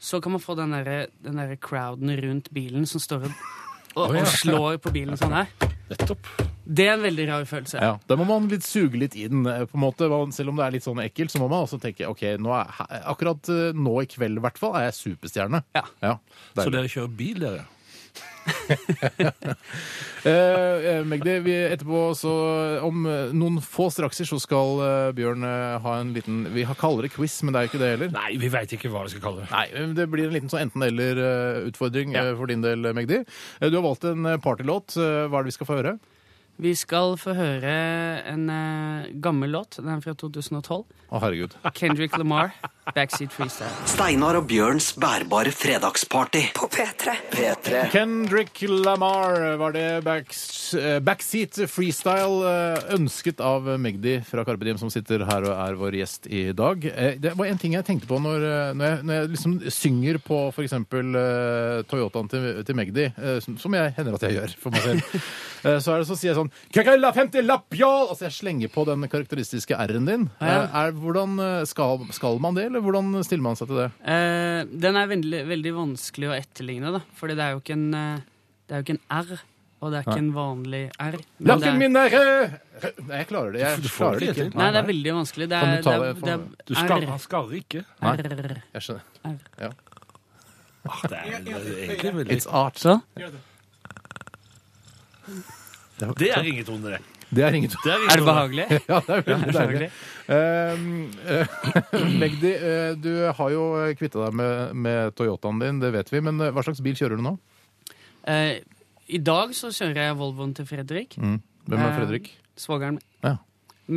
[SPEAKER 7] Så kan man få den derre den der crowden rundt bilen som står og, og,
[SPEAKER 4] Å, ja.
[SPEAKER 7] og slår på bilen sånn her.
[SPEAKER 4] Nettopp.
[SPEAKER 7] Det er en veldig rar følelse.
[SPEAKER 2] Ja, Da må man litt suge litt i den. eh, på en måte. Man- Selv om det er litt sånn ekkelt, så må man også tenke ok, nå er, he- akkurat eh, nå i kveld i hvert fall er jeg superstjerne.
[SPEAKER 7] Ja.
[SPEAKER 2] Deilig.
[SPEAKER 4] Så dere kjører bil, dere?
[SPEAKER 2] Eh, eh, Magdi, vi, etterpå så om eh, noen få strakser så skal eh, Bjørn eh, ha en liten Vi har- kaller det quiz, men det er jo ikke det heller.
[SPEAKER 4] Nei, vi veit ikke hva vi skal kalle det.
[SPEAKER 2] Nei, men Det blir en liten sånn enten-eller-utfordring for din del, eh, Magdi. Eh, Du har valgt en eh, partylåt. Eh, Hva er det vi skal få høre?
[SPEAKER 7] Vi skal få høre en eh, gammel låt. Den er fra 2012.
[SPEAKER 2] Å, herregud.
[SPEAKER 7] Kendrick Lamar, 'Backseat Freestyle'.
[SPEAKER 1] Steinar og Bjørns bærbare fredagsparty. På P3. P3.
[SPEAKER 2] Kendrick Lamar var det backs, eh, Backseat Freestyle, eh, ønsket av Magdi fra Carpe Diem, som sitter her og er vår gjest i dag. Eh, Det var en ting jeg tenkte på når, eh, når, jeg, når jeg liksom synger på f.eks. Uh, Toyotaen til, til Magdi, eh, som, som jeg hender at jeg gjør for meg selv. Eh, så, er det, så sier jeg sånn Krakalla 50 lapp, y'all! Altså jeg slenger på den karakteristiske R-en din.
[SPEAKER 7] ja.
[SPEAKER 2] Eh, er, hvordan eh, skal, skal man det, eller hvordan stiller man seg til det?
[SPEAKER 7] Eh, den er veldig, veldig vanskelig å etterligne, da. Fordi det er jo ikke en, eh, det er jo ikke en R. Og det er ikke en vanlig R. men det er,
[SPEAKER 2] Lappen min er rød! Nei, jeg klarer det. Jeg
[SPEAKER 4] Du får
[SPEAKER 2] klarer det
[SPEAKER 4] det
[SPEAKER 2] ikke.
[SPEAKER 4] til.
[SPEAKER 7] Nei, det er veldig vanskelig. Det
[SPEAKER 2] Kan
[SPEAKER 7] er,
[SPEAKER 2] du ta
[SPEAKER 7] det
[SPEAKER 2] det
[SPEAKER 7] er,
[SPEAKER 2] for
[SPEAKER 7] det
[SPEAKER 2] meg?
[SPEAKER 4] Du
[SPEAKER 7] er
[SPEAKER 4] skarrer, han skarrer ikke.
[SPEAKER 7] R. R.
[SPEAKER 2] Jeg skjønner.
[SPEAKER 4] Ah, Det er, det er egentlig veldig
[SPEAKER 2] It's art.
[SPEAKER 7] Så?
[SPEAKER 4] Det er ringetone, det.
[SPEAKER 2] Det er ingen
[SPEAKER 4] det er
[SPEAKER 7] Er det
[SPEAKER 4] ringetone.
[SPEAKER 7] behagelig?
[SPEAKER 2] Ja, det er veldig deilig.
[SPEAKER 7] Behagelig.
[SPEAKER 2] Ehm, eh, Magdi, eh, du har jo kvitta deg med, med Toyotaen din, det vet vi. Men eh, hva slags bil kjører du nå?
[SPEAKER 7] Eh, I dag så kjører jeg Volvoen til Fredrik,
[SPEAKER 2] Hvem er
[SPEAKER 7] Eh,
[SPEAKER 2] Fredrik?
[SPEAKER 7] svogeren min.
[SPEAKER 2] Mm. Ja.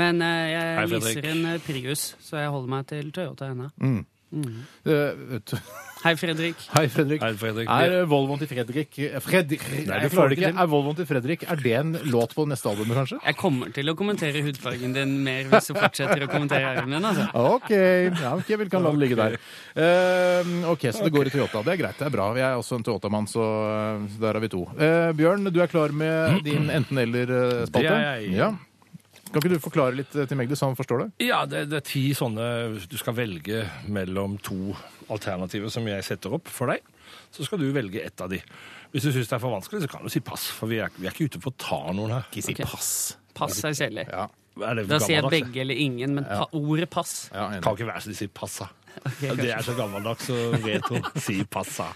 [SPEAKER 7] Men eh, jeg
[SPEAKER 4] Hei, Fredrik.
[SPEAKER 7] leaser en eh, Prius, så jeg holder meg til Toyota ennå.
[SPEAKER 2] Mm. Eh, t-
[SPEAKER 7] Hei, Fredrik.
[SPEAKER 2] Hei, Fredrik.
[SPEAKER 4] Hei, Fredrik.
[SPEAKER 2] Er eh, Volvoen til Fredrik eh, Fredrik Nei,
[SPEAKER 4] det
[SPEAKER 2] jeg
[SPEAKER 4] får
[SPEAKER 2] klarer
[SPEAKER 4] du
[SPEAKER 2] ikke.
[SPEAKER 4] ikke til.
[SPEAKER 2] Er Volvoen til Fredrik Er det en låt på neste album, kanskje?
[SPEAKER 7] Jeg kommer til å kommentere hudfargen din mer hvis du fortsetter å kommentere R-en min. Altså.
[SPEAKER 2] OK. Ja, ok, Vi kan la den ligge der. Ehm, OK, så det går i Toyota. Det er greit. Det er bra. Jeg er også en Toyota-mann, så eh, så der er vi to. Eh, Bjørn, du er klar med din enten-eller-spalte?
[SPEAKER 4] Mm. Det er jeg.
[SPEAKER 2] Ja. Kan ikke du forklare litt eh, til Magdi, så han forstår det?
[SPEAKER 4] Ja, det, det er ti sånne Du skal velge mellom to alternativer som jeg setter opp for deg. så skal du velge ett av de. Hvis du syns det er for vanskelig, så kan du si pass, for vi er, vi er ikke ute på å ta noen her.
[SPEAKER 2] Ikke si
[SPEAKER 7] Ok.
[SPEAKER 2] pass.
[SPEAKER 7] Pass er kjedelig.
[SPEAKER 2] Ja,
[SPEAKER 4] Er det
[SPEAKER 7] Da sier jeg
[SPEAKER 4] gammeldags?
[SPEAKER 7] begge eller ingen, men pa ordet pass
[SPEAKER 2] ja enig.
[SPEAKER 4] Kan ikke være så de sier passa. det er så gammeldags og retro. si passa.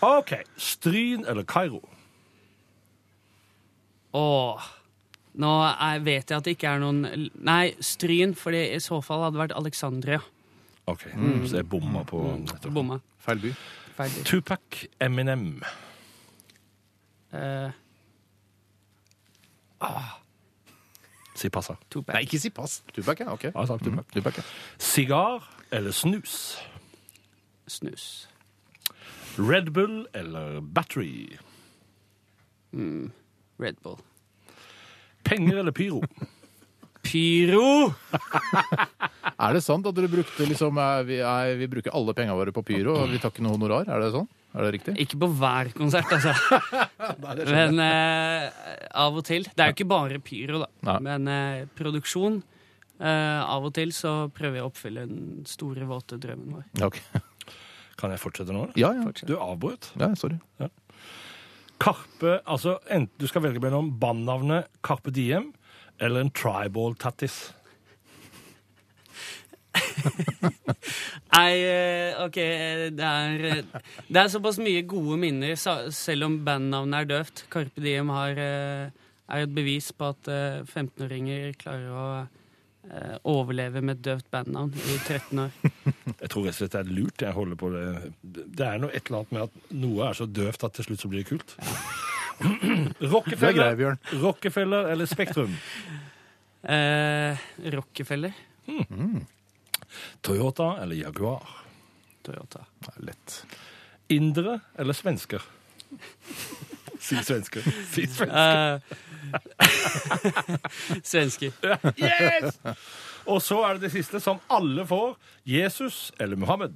[SPEAKER 4] OK. Stryn eller Kairo?
[SPEAKER 7] Åh. Nå er, vet jeg at det ikke er noen Nei, Stryn, for i så fall hadde det vært Alexandria.
[SPEAKER 4] OK, så jeg bomma på nettopp.
[SPEAKER 7] Bomma.
[SPEAKER 2] Feil by.
[SPEAKER 7] Ferdig.
[SPEAKER 4] Tupac Eminem.
[SPEAKER 7] Eh,
[SPEAKER 4] Si passa.
[SPEAKER 7] Tupac.
[SPEAKER 2] Nei, ikke si pass. Tupac, ja. Ok. Mm,
[SPEAKER 4] Ja, takk, Tupac.
[SPEAKER 2] Tupac, ja.
[SPEAKER 4] Sigar eller snus?
[SPEAKER 7] Snus.
[SPEAKER 4] Red Bull eller Battery?
[SPEAKER 7] Red Bull.
[SPEAKER 4] Penger eller pyro?
[SPEAKER 7] Pyro!
[SPEAKER 2] Er det sant at dere brukte liksom eh, Vi, er, vi bruker alle pengene våre på pyro, og vi tar ikke noe honorar? Er det sånn? Er det riktig?
[SPEAKER 7] Ikke på hver konsert, altså. Men eh, av og til. Det er jo ikke bare pyro, da.
[SPEAKER 2] Nei.
[SPEAKER 7] Men eh, produksjon. eh, av og til så prøver jeg å oppfylle den store, våte drømmen vår.
[SPEAKER 2] Ja, ok.
[SPEAKER 4] Kan jeg fortsette nå? eller?
[SPEAKER 2] ja, ja.
[SPEAKER 4] Du avbrøt.
[SPEAKER 2] ja sorry.
[SPEAKER 4] Karpe, altså enten du skal velge mellom bandnavnet Karpe Diem eller en tribal tattis.
[SPEAKER 7] Nei, eh, OK, eh, det er eh, Det er såpass mye gode minner, sa- selv om bandnavnet er døvt. Carpe Diem har, eh, er jo et bevis på at eh, 15-åringer klarer å eh, overleve med et døvt bandnavn i 13 år.
[SPEAKER 4] Jeg tror rett og slett det er lurt. jeg holder på Det Det er noe et eller annet med at noe er så døvt at til slutt så blir det kult.
[SPEAKER 2] Det er grei,
[SPEAKER 4] Rockefeller,
[SPEAKER 2] Bjørn.
[SPEAKER 4] Rockefeller eller Spektrum?
[SPEAKER 7] Eh, Rockefeller.
[SPEAKER 4] Toyota eller Jaguar?
[SPEAKER 7] Toyota.
[SPEAKER 2] Det er Lett.
[SPEAKER 4] Indere eller svensker? Si svensker. Si svensker.
[SPEAKER 7] Eh, Svensker.
[SPEAKER 4] Yes! Og så er det det siste som alle får. Jesus eller Muhammed?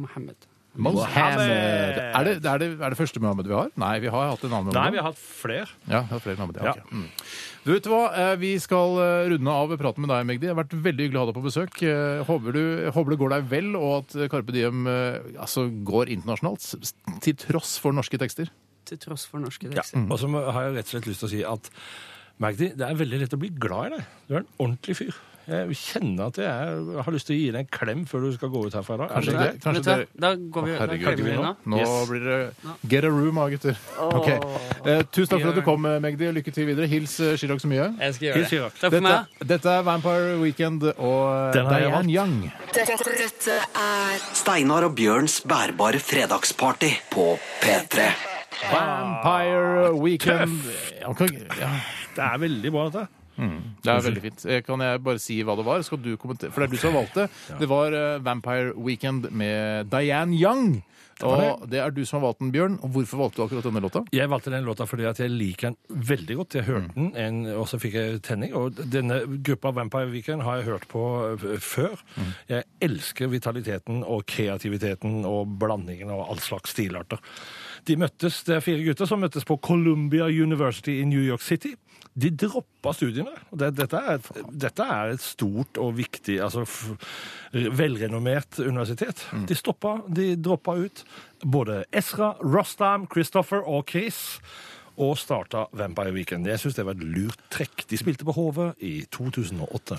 [SPEAKER 7] Mohammed.
[SPEAKER 2] Mohammed. Er det, er, det, er det første Mohammed vi har? Nei, vi har hatt en annen.
[SPEAKER 4] Nei,
[SPEAKER 2] Mohammed.
[SPEAKER 4] vi har hatt flere.
[SPEAKER 2] Ja, det er flere Mohammed, ja,
[SPEAKER 4] Ja.
[SPEAKER 2] ok. Mm. Du vet hva, eh, Vi skal eh, runde av praten med deg, Magdi. Det har vært veldig hyggelig å ha deg på besøk. Eh, Håper, du, håper det går deg vel, og at eh, Carpe Diem eh, altså, går internasjonalt, s- s- til tross for norske tekster.
[SPEAKER 7] Til tross for norske
[SPEAKER 4] Ja.
[SPEAKER 7] tekster.
[SPEAKER 4] Og så må- har jeg rett og slett lyst til å si at Magdi, det er veldig lett å bli glad i deg. Du er en ordentlig fyr. Jeg kjenner at jeg, er, jeg har lyst til å gi deg en klem før du skal gå ut herfra i dag. Er det
[SPEAKER 2] Kanskje
[SPEAKER 4] greit?
[SPEAKER 2] det, kanskje
[SPEAKER 7] Vet du hva?
[SPEAKER 2] dere-
[SPEAKER 7] Da går vi, da
[SPEAKER 2] Herregud.
[SPEAKER 7] klemmer vi nå.
[SPEAKER 2] Nå
[SPEAKER 4] Yes.
[SPEAKER 2] blir det get a room av, gutter. Ok. Eh, tusen takk for at du kom, eh, Magdi. og Lykke til videre. Hils eh, Chirag så mye.
[SPEAKER 7] Jeg skal
[SPEAKER 4] Hils
[SPEAKER 7] gjøre
[SPEAKER 4] Irak.
[SPEAKER 7] det. Takk for meg.
[SPEAKER 2] Dette, dette er Vampire Weekend og eh,
[SPEAKER 4] Den har jeg
[SPEAKER 2] Diane
[SPEAKER 4] valgt.
[SPEAKER 2] Young.
[SPEAKER 5] Dette, dette er
[SPEAKER 1] Steinar og Bjørns bærbare fredagsparty på P3.
[SPEAKER 2] Vampire Weekend. Ja, kan- ja.
[SPEAKER 4] Det er veldig bra, dette.
[SPEAKER 2] Det er veldig fint. Eh, Kan jeg bare si hva det var? Skal du kommentere? For det er du som har valgt det. Det var eh, Vampire Weekend med Diane Young. Og det er du som har valgt den, Bjørn. Og hvorfor valgte du akkurat denne låta?
[SPEAKER 4] Jeg valgte den låta fordi at jeg liker den veldig godt. Jeg hørte den, en, og så fikk jeg tenning. Og denne gruppa Vampire Weekend har jeg hørt på eh, før. Jeg elsker vitaliteten og kreativiteten og blandingen av all slags stilarter. De møttes, Det er fire gutter som møttes på Columbia University i New York City. De droppa studiene. og Det, dette, er et, dette er et stort og viktig, altså f velrenommert universitet.
[SPEAKER 2] Mm.
[SPEAKER 4] De stoppa, de droppa ut. Både Ezra, Rostam, Christopher og Chris. Og starta Vampire Weekend. Jeg syns det var et lurt trekk. De spilte på HV i 2008.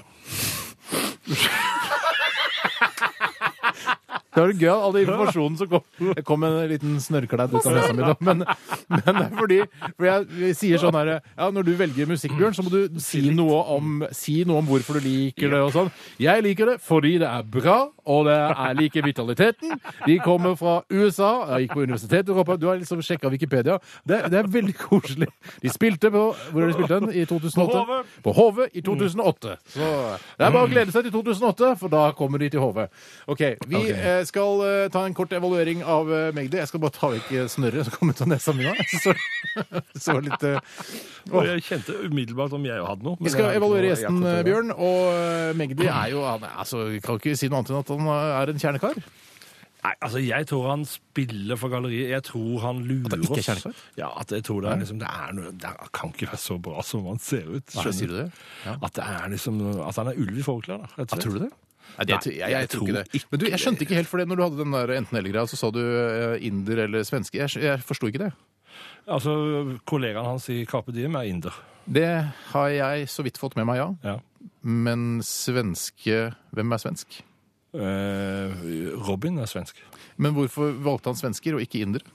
[SPEAKER 2] Det var gøy, all den informasjonen som kom. Det kom en liten snørrkledd ut av nesa mi. da, Men, men det er fordi, fordi jeg vi sier sånn her ja, Når du velger musikk, Bjørn, så må du si noe om, si noe om hvorfor du liker det og sånn. Jeg liker det fordi det er bra, og det er jeg liker vitaliteten. Vi kommer fra USA. Jeg gikk på universitetet i Europa. Du har liksom sjekka Wikipedia. Det, det er veldig koselig. De spilte på Hvor har de spilt den? I 2008? På HV i 2008.
[SPEAKER 4] Mm.
[SPEAKER 2] Så det er bare å glede seg til 2008, for da kommer de til HV. OK. Vi
[SPEAKER 4] Ok.
[SPEAKER 2] eh, skal eh, ta en kort evaluering av eh, Magdi. Jeg skal bare ta vekk eh, snørret som kom ut av nesa mi nå. Jeg synes det- Så litt eh,
[SPEAKER 4] Og jeg kjente umiddelbart om jeg hadde noe. men
[SPEAKER 2] vi
[SPEAKER 4] jeg
[SPEAKER 2] skal
[SPEAKER 4] har ikke
[SPEAKER 2] evaluere
[SPEAKER 4] noe- jeg
[SPEAKER 2] gjesten,
[SPEAKER 4] har ikke noe-
[SPEAKER 2] Bjørn. Og eh, Magdi er jo han, er- altså, Vi kan ikke si noe annet enn at han eh, er en kjernekar.
[SPEAKER 4] Nei, altså Jeg tror han spiller for galleriet. Jeg tror han lurer
[SPEAKER 2] At det ikke er
[SPEAKER 4] oss.
[SPEAKER 2] kjernekar?
[SPEAKER 4] Ja, at jeg tror det er liksom Det, er noe, det er- kan ikke være så bra som han ser ut.
[SPEAKER 2] Nei,
[SPEAKER 4] skjønner
[SPEAKER 2] sier du det?
[SPEAKER 4] At, det er liksom, at han er ulv i forklær, da. Rett og slett.
[SPEAKER 2] tror du det? Nei, det, jeg, jeg, tror ikke det. Men du, jeg skjønte ikke helt, for det når du hadde den der enten-eller-greia, så sa du eh, inder eller svenske. Jeg, skj- jeg forsto ikke det.
[SPEAKER 4] Altså, kollegaen hans i Carpe Diem er inder.
[SPEAKER 2] Det har jeg så vidt fått med meg, ja.
[SPEAKER 4] Ja.
[SPEAKER 2] Men svenske Hvem er svensk?
[SPEAKER 4] Eh, Robin er svensk.
[SPEAKER 2] Men hvorfor valgte han svensker og ikke indere?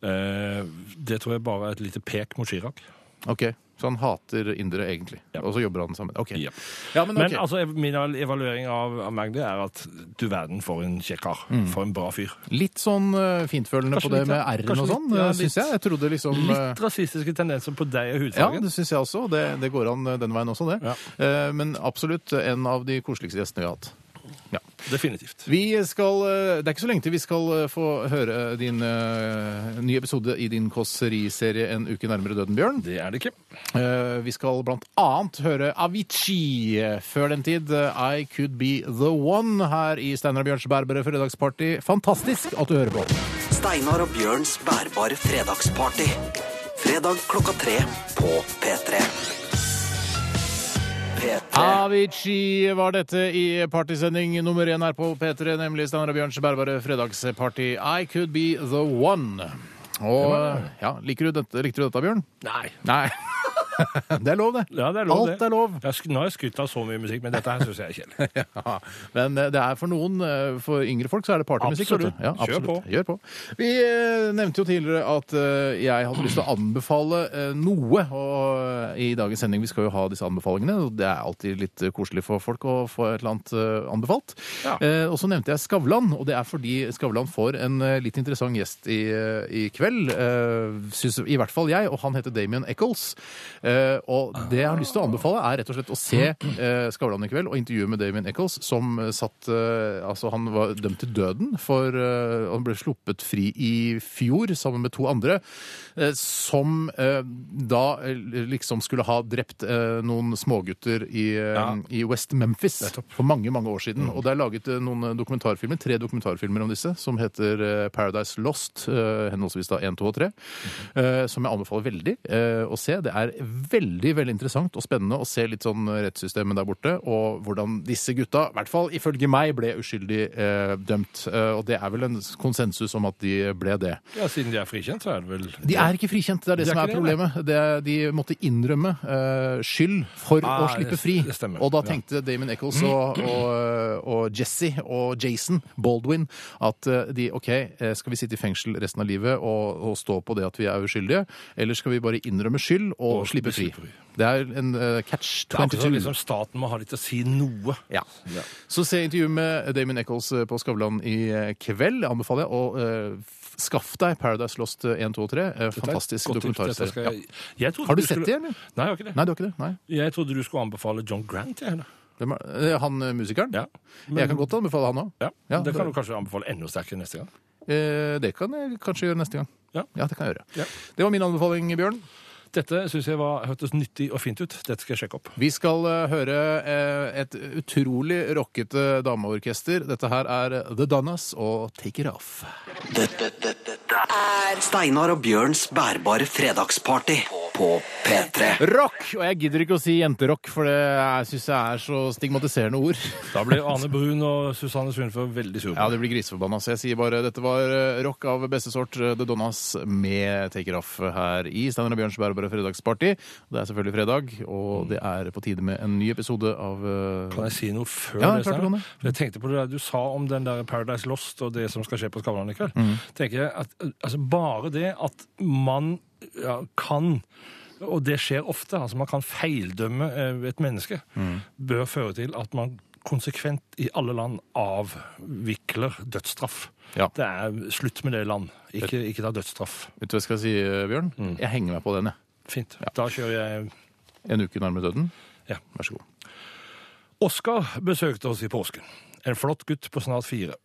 [SPEAKER 4] Eh, det tror jeg bare er et lite pek mot Chirag.
[SPEAKER 2] Ok, Så han hater indere egentlig,
[SPEAKER 4] Ja.
[SPEAKER 2] og så jobber han sammen? Ok.
[SPEAKER 4] Ja.
[SPEAKER 2] Ja, men, ok.
[SPEAKER 4] Men altså, ev- min ev- evaluering av, av Magdi er at du verden for en kjekk kar.
[SPEAKER 2] Mm.
[SPEAKER 4] For en bra fyr.
[SPEAKER 2] Litt sånn eh, fintfølende
[SPEAKER 4] Kanskje
[SPEAKER 2] på det
[SPEAKER 4] litt,
[SPEAKER 2] med
[SPEAKER 4] ja.
[SPEAKER 2] r-en
[SPEAKER 4] Kanskje
[SPEAKER 2] og
[SPEAKER 4] litt,
[SPEAKER 2] sånn,
[SPEAKER 4] ja,
[SPEAKER 2] eh, syns
[SPEAKER 4] litt-
[SPEAKER 2] jeg. Jeg trodde liksom eh,
[SPEAKER 4] Litt rasistiske tendenser på deg og
[SPEAKER 2] Ja,
[SPEAKER 4] hudfargen.
[SPEAKER 2] det syns jeg også. Det, det går an eh, den veien også, det. Eh, Men absolutt en av de koseligste gjestene vi har hatt.
[SPEAKER 4] Definitivt.
[SPEAKER 2] Vi skal, eh, Det er ikke så lenge til vi skal eh, få høre eh, din eh, nye episode i din kåseriserie En uke nærmere døden, Bjørn.
[SPEAKER 4] Det er det ikke.
[SPEAKER 2] Eh, Vi skal blant annet høre Avicii. Før den tid eh, I Could Be The One her i Steinar og Bjørns Bærbere fredagsparty. Fantastisk at du hører på.
[SPEAKER 1] Steinar og Bjørns bærbare fredagsparty. Fredag klokka tre på P3. P3.
[SPEAKER 2] Avicii var dette i partysending nummer én her på P3, nemlig Steinar og Bjørns bærbare fredagsparty I Could Be The One. Og ja, liker du dette, Likte du dette, Bjørn?
[SPEAKER 4] Nei.
[SPEAKER 2] Nei. det er lov, det.
[SPEAKER 4] Ja, det er lov,
[SPEAKER 2] Alt
[SPEAKER 4] det.
[SPEAKER 2] er lov.
[SPEAKER 4] Jeg, har sk- nå har jeg skutt av så mye musikk, men dette her syns jeg er kjedelig.
[SPEAKER 2] Ja, Men eh, det er for noen, eh, for yngre folk, så er det partymusikk.
[SPEAKER 4] Absolutt.
[SPEAKER 2] vet du. Ja,
[SPEAKER 4] Kjør
[SPEAKER 2] absolutt.
[SPEAKER 4] på.
[SPEAKER 2] Gjør på. Vi eh, nevnte jo tidligere at eh, jeg hadde lyst til å anbefale eh, noe. Og eh, i dagens sending vi skal jo ha disse anbefalingene, og det er alltid litt eh, koselig for folk å få et eller annet eh, anbefalt.
[SPEAKER 4] Ja.
[SPEAKER 2] Eh, Og så nevnte jeg Skavlan, og det er fordi Skavlan får en eh, litt interessant gjest i, eh, i kveld. eh, Synes i hvert fall jeg, og han heter Damien Eccles. Eh, Og det jeg har lyst til å anbefale, er rett og slett å se eh, Skavlan i kveld og intervjuet med Damien Eccles, som eh, satt eh, Altså, han var dømt til døden for eh, Han ble sluppet fri i fjor sammen med to andre, eh, som eh, da eh, liksom skulle ha drept eh, noen smågutter i, eh,
[SPEAKER 4] Ja.
[SPEAKER 2] i West Memphis for mange, mange år siden. Og det er laget eh, noen dokumentarfilmer, tre dokumentarfilmer om disse, som heter eh, Paradise Lost, eh, henholdsvis da 1, 2 og 3, eh, som jeg anbefaler veldig eh, å se. Det er veldig, veldig interessant og spennende å se litt sånn rettssystemet der borte, og hvordan disse gutta, i hvert fall ifølge meg, ble uskyldig eh, dømt. Eh, Og det er vel en konsensus om at de ble det.
[SPEAKER 4] Ja, Siden de er frikjent, så er det vel
[SPEAKER 2] De er ikke frikjent, det er det,
[SPEAKER 4] De er
[SPEAKER 2] som er
[SPEAKER 4] ikke det,
[SPEAKER 2] problemet. Det, er- de måtte innrømme eh, skyld for
[SPEAKER 4] Ah,
[SPEAKER 2] å slippe
[SPEAKER 4] det-
[SPEAKER 2] fri.
[SPEAKER 4] det stemmer.
[SPEAKER 2] og da
[SPEAKER 4] Ja.
[SPEAKER 2] tenkte Damon Eccles og, og, og Jesse og Jason Baldwin at eh, de OK, eh, skal vi sitte i fengsel resten av livet og, og stå på det at vi er uskyldige, eller skal vi bare innrømme skyld og,
[SPEAKER 4] Og
[SPEAKER 2] slippe fri?
[SPEAKER 4] slippe fri.
[SPEAKER 2] Det er en eh, catch
[SPEAKER 4] Det er akkurat
[SPEAKER 2] 22.
[SPEAKER 4] som liksom staten må ha litt å si noe.
[SPEAKER 2] Ja.
[SPEAKER 4] Ja.
[SPEAKER 2] Så se intervjuet med Damon Eccles på Skavlan i eh, kveld, anbefaler jeg. Og eh, f- skaff deg Paradise Lost 1, 2 og 3. Eh,
[SPEAKER 4] Dette er et
[SPEAKER 2] Fantastisk
[SPEAKER 4] godt tips. Dette
[SPEAKER 2] dokumentarserie.
[SPEAKER 4] skal
[SPEAKER 2] Ja.
[SPEAKER 4] jeg- Jeg trodde
[SPEAKER 2] Har du
[SPEAKER 4] du
[SPEAKER 2] sett
[SPEAKER 4] skulle-
[SPEAKER 2] det, eller?
[SPEAKER 4] Nei, jeg har ikke det.
[SPEAKER 2] Nei, du har ikke det? Nei.
[SPEAKER 4] Jeg trodde du skulle anbefale John Grant til henne.
[SPEAKER 2] Hvem er, eh, han eh, musikeren?
[SPEAKER 4] Ja.
[SPEAKER 2] jeg kan godt anbefale han òg.
[SPEAKER 4] Ja,
[SPEAKER 2] Ja,
[SPEAKER 4] det
[SPEAKER 2] det-
[SPEAKER 4] kan du kanskje anbefale enda sterkere neste gang.
[SPEAKER 2] Eh, det kan jeg kanskje gjøre neste gang.
[SPEAKER 4] Ja.
[SPEAKER 2] det kan jeg gjøre.
[SPEAKER 4] Ja.
[SPEAKER 2] Det var min anbefaling, Bjørn.
[SPEAKER 4] Dette syns jeg var, hørtes nyttig og fint ut. Dette skal jeg sjekke opp.
[SPEAKER 2] Vi skal eh, høre eh, et utrolig rockete dameorkester. Dette her er The Donnas og Take It Off.
[SPEAKER 1] Dette, dette, dette er Steinar og Bjørns bærbare fredagsparty på P3.
[SPEAKER 2] Rock! Og jeg gidder ikke å si jenterock, for det jeg syns jeg er så stigmatiserende ord.
[SPEAKER 4] Da blir Arne Brun og Susanne Sundfør veldig sure.
[SPEAKER 2] Ja, det blir griseforbanna, så jeg sier bare dette var eh, rock av beste sort, eh, The Donnas med Take It Off her i Steinar og Bjørns bærbare fredagsparty. Det er selvfølgelig fredag,
[SPEAKER 4] Mm.
[SPEAKER 2] og det er på tide med en ny episode av eh,
[SPEAKER 4] Kan jeg si noe før
[SPEAKER 2] Ja,
[SPEAKER 4] det?
[SPEAKER 2] klart du
[SPEAKER 4] Steinar?
[SPEAKER 2] kan det.
[SPEAKER 4] For Jeg tenkte på det der du sa om den der Paradise Lost og det som skal skje på Skavlan i kveld.
[SPEAKER 2] Mm.
[SPEAKER 4] Tenker jeg at eh, altså, Bare det at man ja, kan og det skjer ofte. altså Man kan feildømme eh, et menneske.
[SPEAKER 2] Mm.
[SPEAKER 4] Bør føre til at man konsekvent i alle land avvikler dødsstraff.
[SPEAKER 2] Ja.
[SPEAKER 4] Det er slutt med det i land. Ikke, ikke ta dødsstraff.
[SPEAKER 2] Vet du hva jeg skal si, eh, Bjørn?
[SPEAKER 4] Mm.
[SPEAKER 2] Jeg henger meg på den, jeg.
[SPEAKER 4] Fint. Da kjører jeg
[SPEAKER 2] En uke nærmere døden.
[SPEAKER 4] Ja.
[SPEAKER 2] Vær så god.
[SPEAKER 4] Oskar besøkte oss i påsken. En flott gutt på snart fire.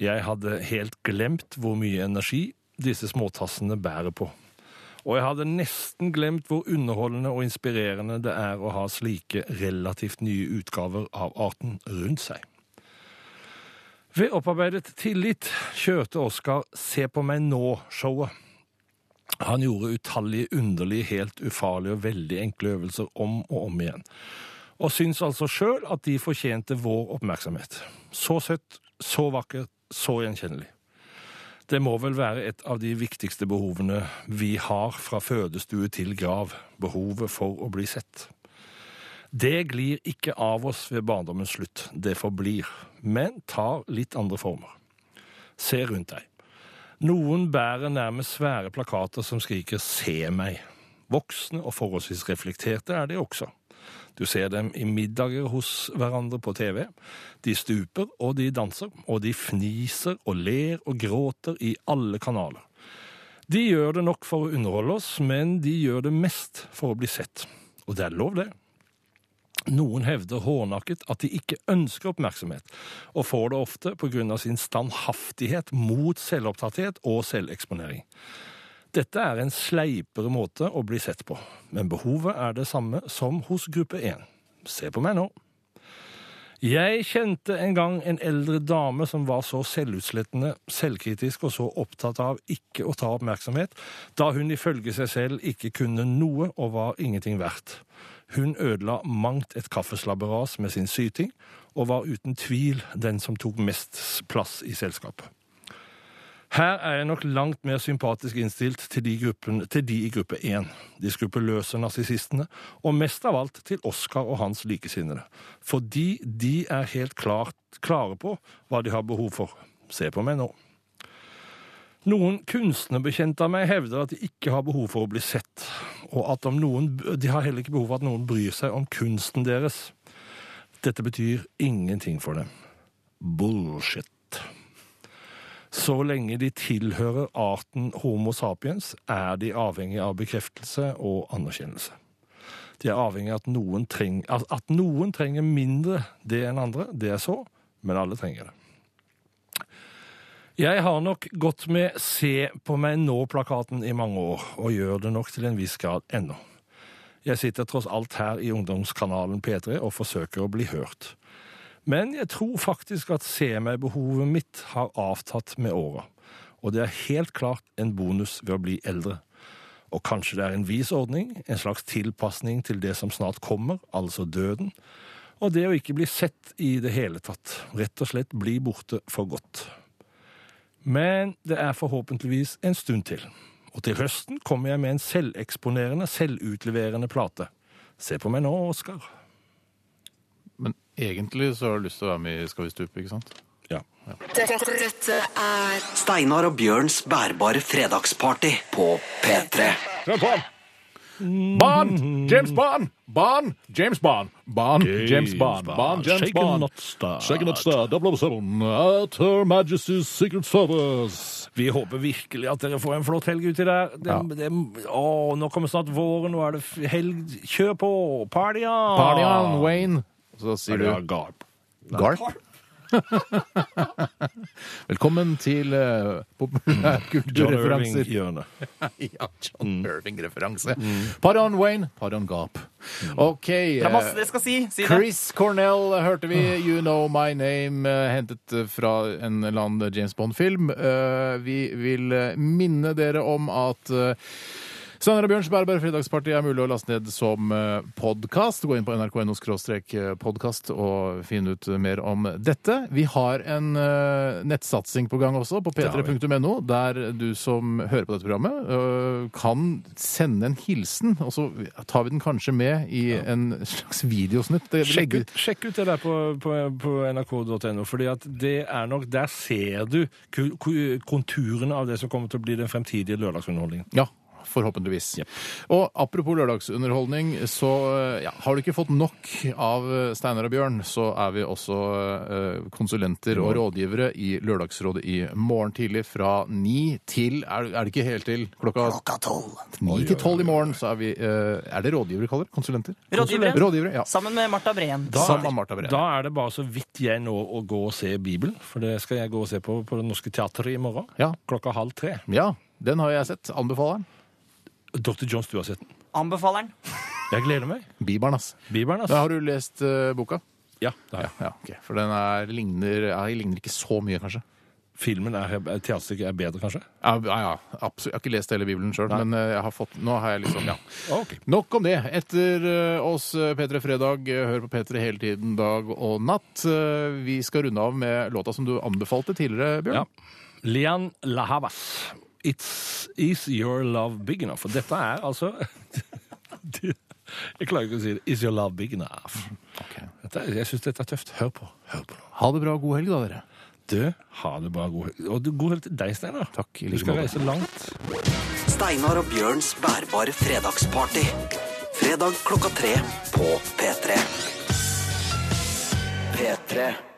[SPEAKER 4] Jeg hadde helt glemt hvor mye energi disse småtassene bærer på. Og jeg hadde nesten glemt hvor underholdende og inspirerende det er å ha slike relativt nye utgaver av arten rundt seg. Ved opparbeidet tillit kjørte Oskar Se på meg nå-showet. Han gjorde utallige underlige, helt ufarlige og veldig enkle øvelser om og om igjen og syns altså sjøl at de fortjente vår oppmerksomhet. Så søtt, så vakkert, så gjenkjennelig. Det må vel være et av de viktigste behovene vi har fra fødestue til grav, behovet for å bli sett. Det glir ikke av oss ved barndommens slutt, det forblir, men tar litt andre former. Se rundt deg. Noen bærer nærmest svære plakater som skriker 'se meg'. Voksne og forholdsvis reflekterte er de også. Du ser dem i middager hos hverandre på TV. De stuper, og de danser, og de fniser og ler og gråter i alle kanaler. De gjør det nok for å underholde oss, men de gjør det mest for å bli sett. Og det er lov, det. Noen hevder hårnakket at de ikke ønsker oppmerksomhet, og får det ofte pga. sin standhaftighet mot selvopptatthet og selveksponering. Dette er en sleipere måte å bli sett på, men behovet er det samme som hos gruppe 1. Se på meg nå. Jeg kjente en gang en eldre dame som var så selvutslettende, selvkritisk og så opptatt av ikke å ta oppmerksomhet, da hun ifølge seg selv ikke kunne noe og var ingenting verdt. Hun ødela mangt et kaffeslabberas med sin syting, og var uten tvil den som tok mest plass i selskapet. Her er jeg nok langt mer sympatisk innstilt til de, gruppen, til de i gruppe 1, de skrupelløse narsissistene, og mest av alt til Oskar og hans likesinnede. Fordi de er helt klart, klare på hva de har behov for. Se på meg nå. Noen kunstnerbekjente av meg hevder at de ikke har behov for å bli sett, og at om noen, de har heller ikke behov for at noen bryr seg om kunsten deres. Dette betyr ingenting for dem. Bullshit. Så lenge de tilhører arten Homo sapiens, er de avhengig av bekreftelse og anerkjennelse. De er avhengig av at noen, treng, at, at noen trenger mindre det enn andre, det er så, men alle trenger det. Jeg har nok gått med Se på meg nå-plakaten i mange år, og gjør det nok til en viss grad ennå. Jeg sitter tross alt her i ungdomskanalen P3 og forsøker å bli hørt. Men jeg tror faktisk at se meg-behovet mitt har avtatt med åra. Og det er helt klart en bonus ved å bli eldre. Og kanskje det er en vis ordning, en slags tilpasning til det som snart kommer, altså døden. Og det å ikke bli sett i det hele tatt. Rett og slett bli borte for godt. Men det er forhåpentligvis en stund til. Og til høsten kommer jeg med en selveksponerende, selvutleverende plate. Se på meg nå, Oskar.
[SPEAKER 2] Men egentlig så har du lyst til å være med i Skal vi stupe, ikke sant?
[SPEAKER 4] Ja.
[SPEAKER 8] Dette, dette er
[SPEAKER 1] Steinar og Bjørns bærbare fredagsparty på P3.
[SPEAKER 9] Kjør på! Barn! James Barn! Barn! James Barn! Barn! James Barn! Barn! James
[SPEAKER 4] Shaken
[SPEAKER 9] Barn!
[SPEAKER 4] not stirred.
[SPEAKER 9] Shaken not stirred. 007. At Her Majesty's Secret Service.
[SPEAKER 4] Vi håper virkelig at dere får en flott helg uti der. Det, det, å, nå kommer snart våren, nå er det f- helg. Kjør på! Party on!
[SPEAKER 10] Party on, Wayne.
[SPEAKER 2] Og så sier
[SPEAKER 4] Ja,
[SPEAKER 2] du
[SPEAKER 4] garp.
[SPEAKER 2] Garp. Velkommen til uh,
[SPEAKER 4] Mm. John
[SPEAKER 2] populærkulturreferanser.
[SPEAKER 4] Irving-hjørnet.
[SPEAKER 2] Ja, John Irving-referanse. Par on Mm. Wayne, par on Gap. OK.
[SPEAKER 3] Mm. Det er masse
[SPEAKER 2] eh,
[SPEAKER 3] det skal si. si det. Ah.
[SPEAKER 2] Chris Cornell eh, hørte vi. You Know My Name, eh, hentet eh, fra en eller annen James Bond-film. Eh, Vi vil eh, minne dere om at eh, Steinar og Bjørns Bærbare fredagsparty er mulig å laste ned som podkast. Gå inn på nrk.no-podkast og finn ut mer om dette. Vi har en eh, nettsatsing på gang også, på
[SPEAKER 4] har vi.
[SPEAKER 2] p3.no, der du som hører på dette programmet, eh, kan sende en hilsen. Og så tar vi den kanskje med i en slags videosnutt. Det
[SPEAKER 4] Sjekk ut, sjekk ut det der på, på, på nrk.no, fordi at det er nok Der ser du ku- ku- konturene av det som kommer til å bli den fremtidige lørdagsunderholdningen.
[SPEAKER 2] Ja, forhåpentligvis. Og apropos lørdagsunderholdning, så eh, ja, har du ikke fått nok av eh, Steinar og Bjørn, så er vi også eh, konsulenter og rådgivere i Lørdagsrådet i morgen tidlig fra ni til Er, er det ikke helt til? Klokka
[SPEAKER 1] Klokka tolv.
[SPEAKER 2] ni til tolv i morgen, så er vi eh, Er det rådgivere vi kaller det? Konsulenter?
[SPEAKER 3] Rådgivere.
[SPEAKER 2] Rådgivere, ja.
[SPEAKER 3] Sammen med Marta Breen.
[SPEAKER 2] Sammen med Martha Breen.
[SPEAKER 4] Da er det bare så vidt jeg når å gå og se Bibelen, for det skal jeg gå og se på på Det Norske Teatret i morgen.
[SPEAKER 2] Ja.
[SPEAKER 4] Klokka halv tre.
[SPEAKER 2] ja. Den har jeg sett. Anbefaler den.
[SPEAKER 4] Dr. Johns, du har sett den.
[SPEAKER 3] Anbefaleren.
[SPEAKER 4] Jeg gleder meg.
[SPEAKER 2] Bibelen, ass.
[SPEAKER 4] Bibelen,
[SPEAKER 2] Da
[SPEAKER 4] altså.
[SPEAKER 2] har du lest eh, boka?
[SPEAKER 4] Ja, det har jeg.
[SPEAKER 2] Ja, ok. For den er, ligner, ja, ligner ikke så mye, kanskje.
[SPEAKER 4] filmen er, er teaterstykket er bedre, kanskje?
[SPEAKER 2] Ja, ja, ja absolutt. Jeg har ikke lest hele Bibelen sjøl, men eh, jeg har fått, nå har jeg liksom ja.
[SPEAKER 4] Ok.
[SPEAKER 2] Nok om det. Etter eh, oss eh, P3 Fredag, eh, hør på P3 hele tiden dag og natt. Eh, Vi skal runde av med låta som du anbefalte tidligere, Bjørn.
[SPEAKER 4] Ja. Lian Lahavas. It's Is Your Love Big Enough? Og dette er altså Jeg klarer ikke å si det. Is Your Love Big Enough? Dette, er- jeg syns dette er tøft. Hør på. Hør på nå.
[SPEAKER 2] Ha det bra og god helg, da, dere.
[SPEAKER 4] Du, ha det bra. God helg. Og du, god helg til deg, Steinar.
[SPEAKER 2] Takk, i
[SPEAKER 4] Du
[SPEAKER 2] like
[SPEAKER 4] skal
[SPEAKER 2] måte.
[SPEAKER 4] reise langt.
[SPEAKER 1] Steinar og Bjørns bærbare fredagsparty. Fredag klokka tre på P3. P3.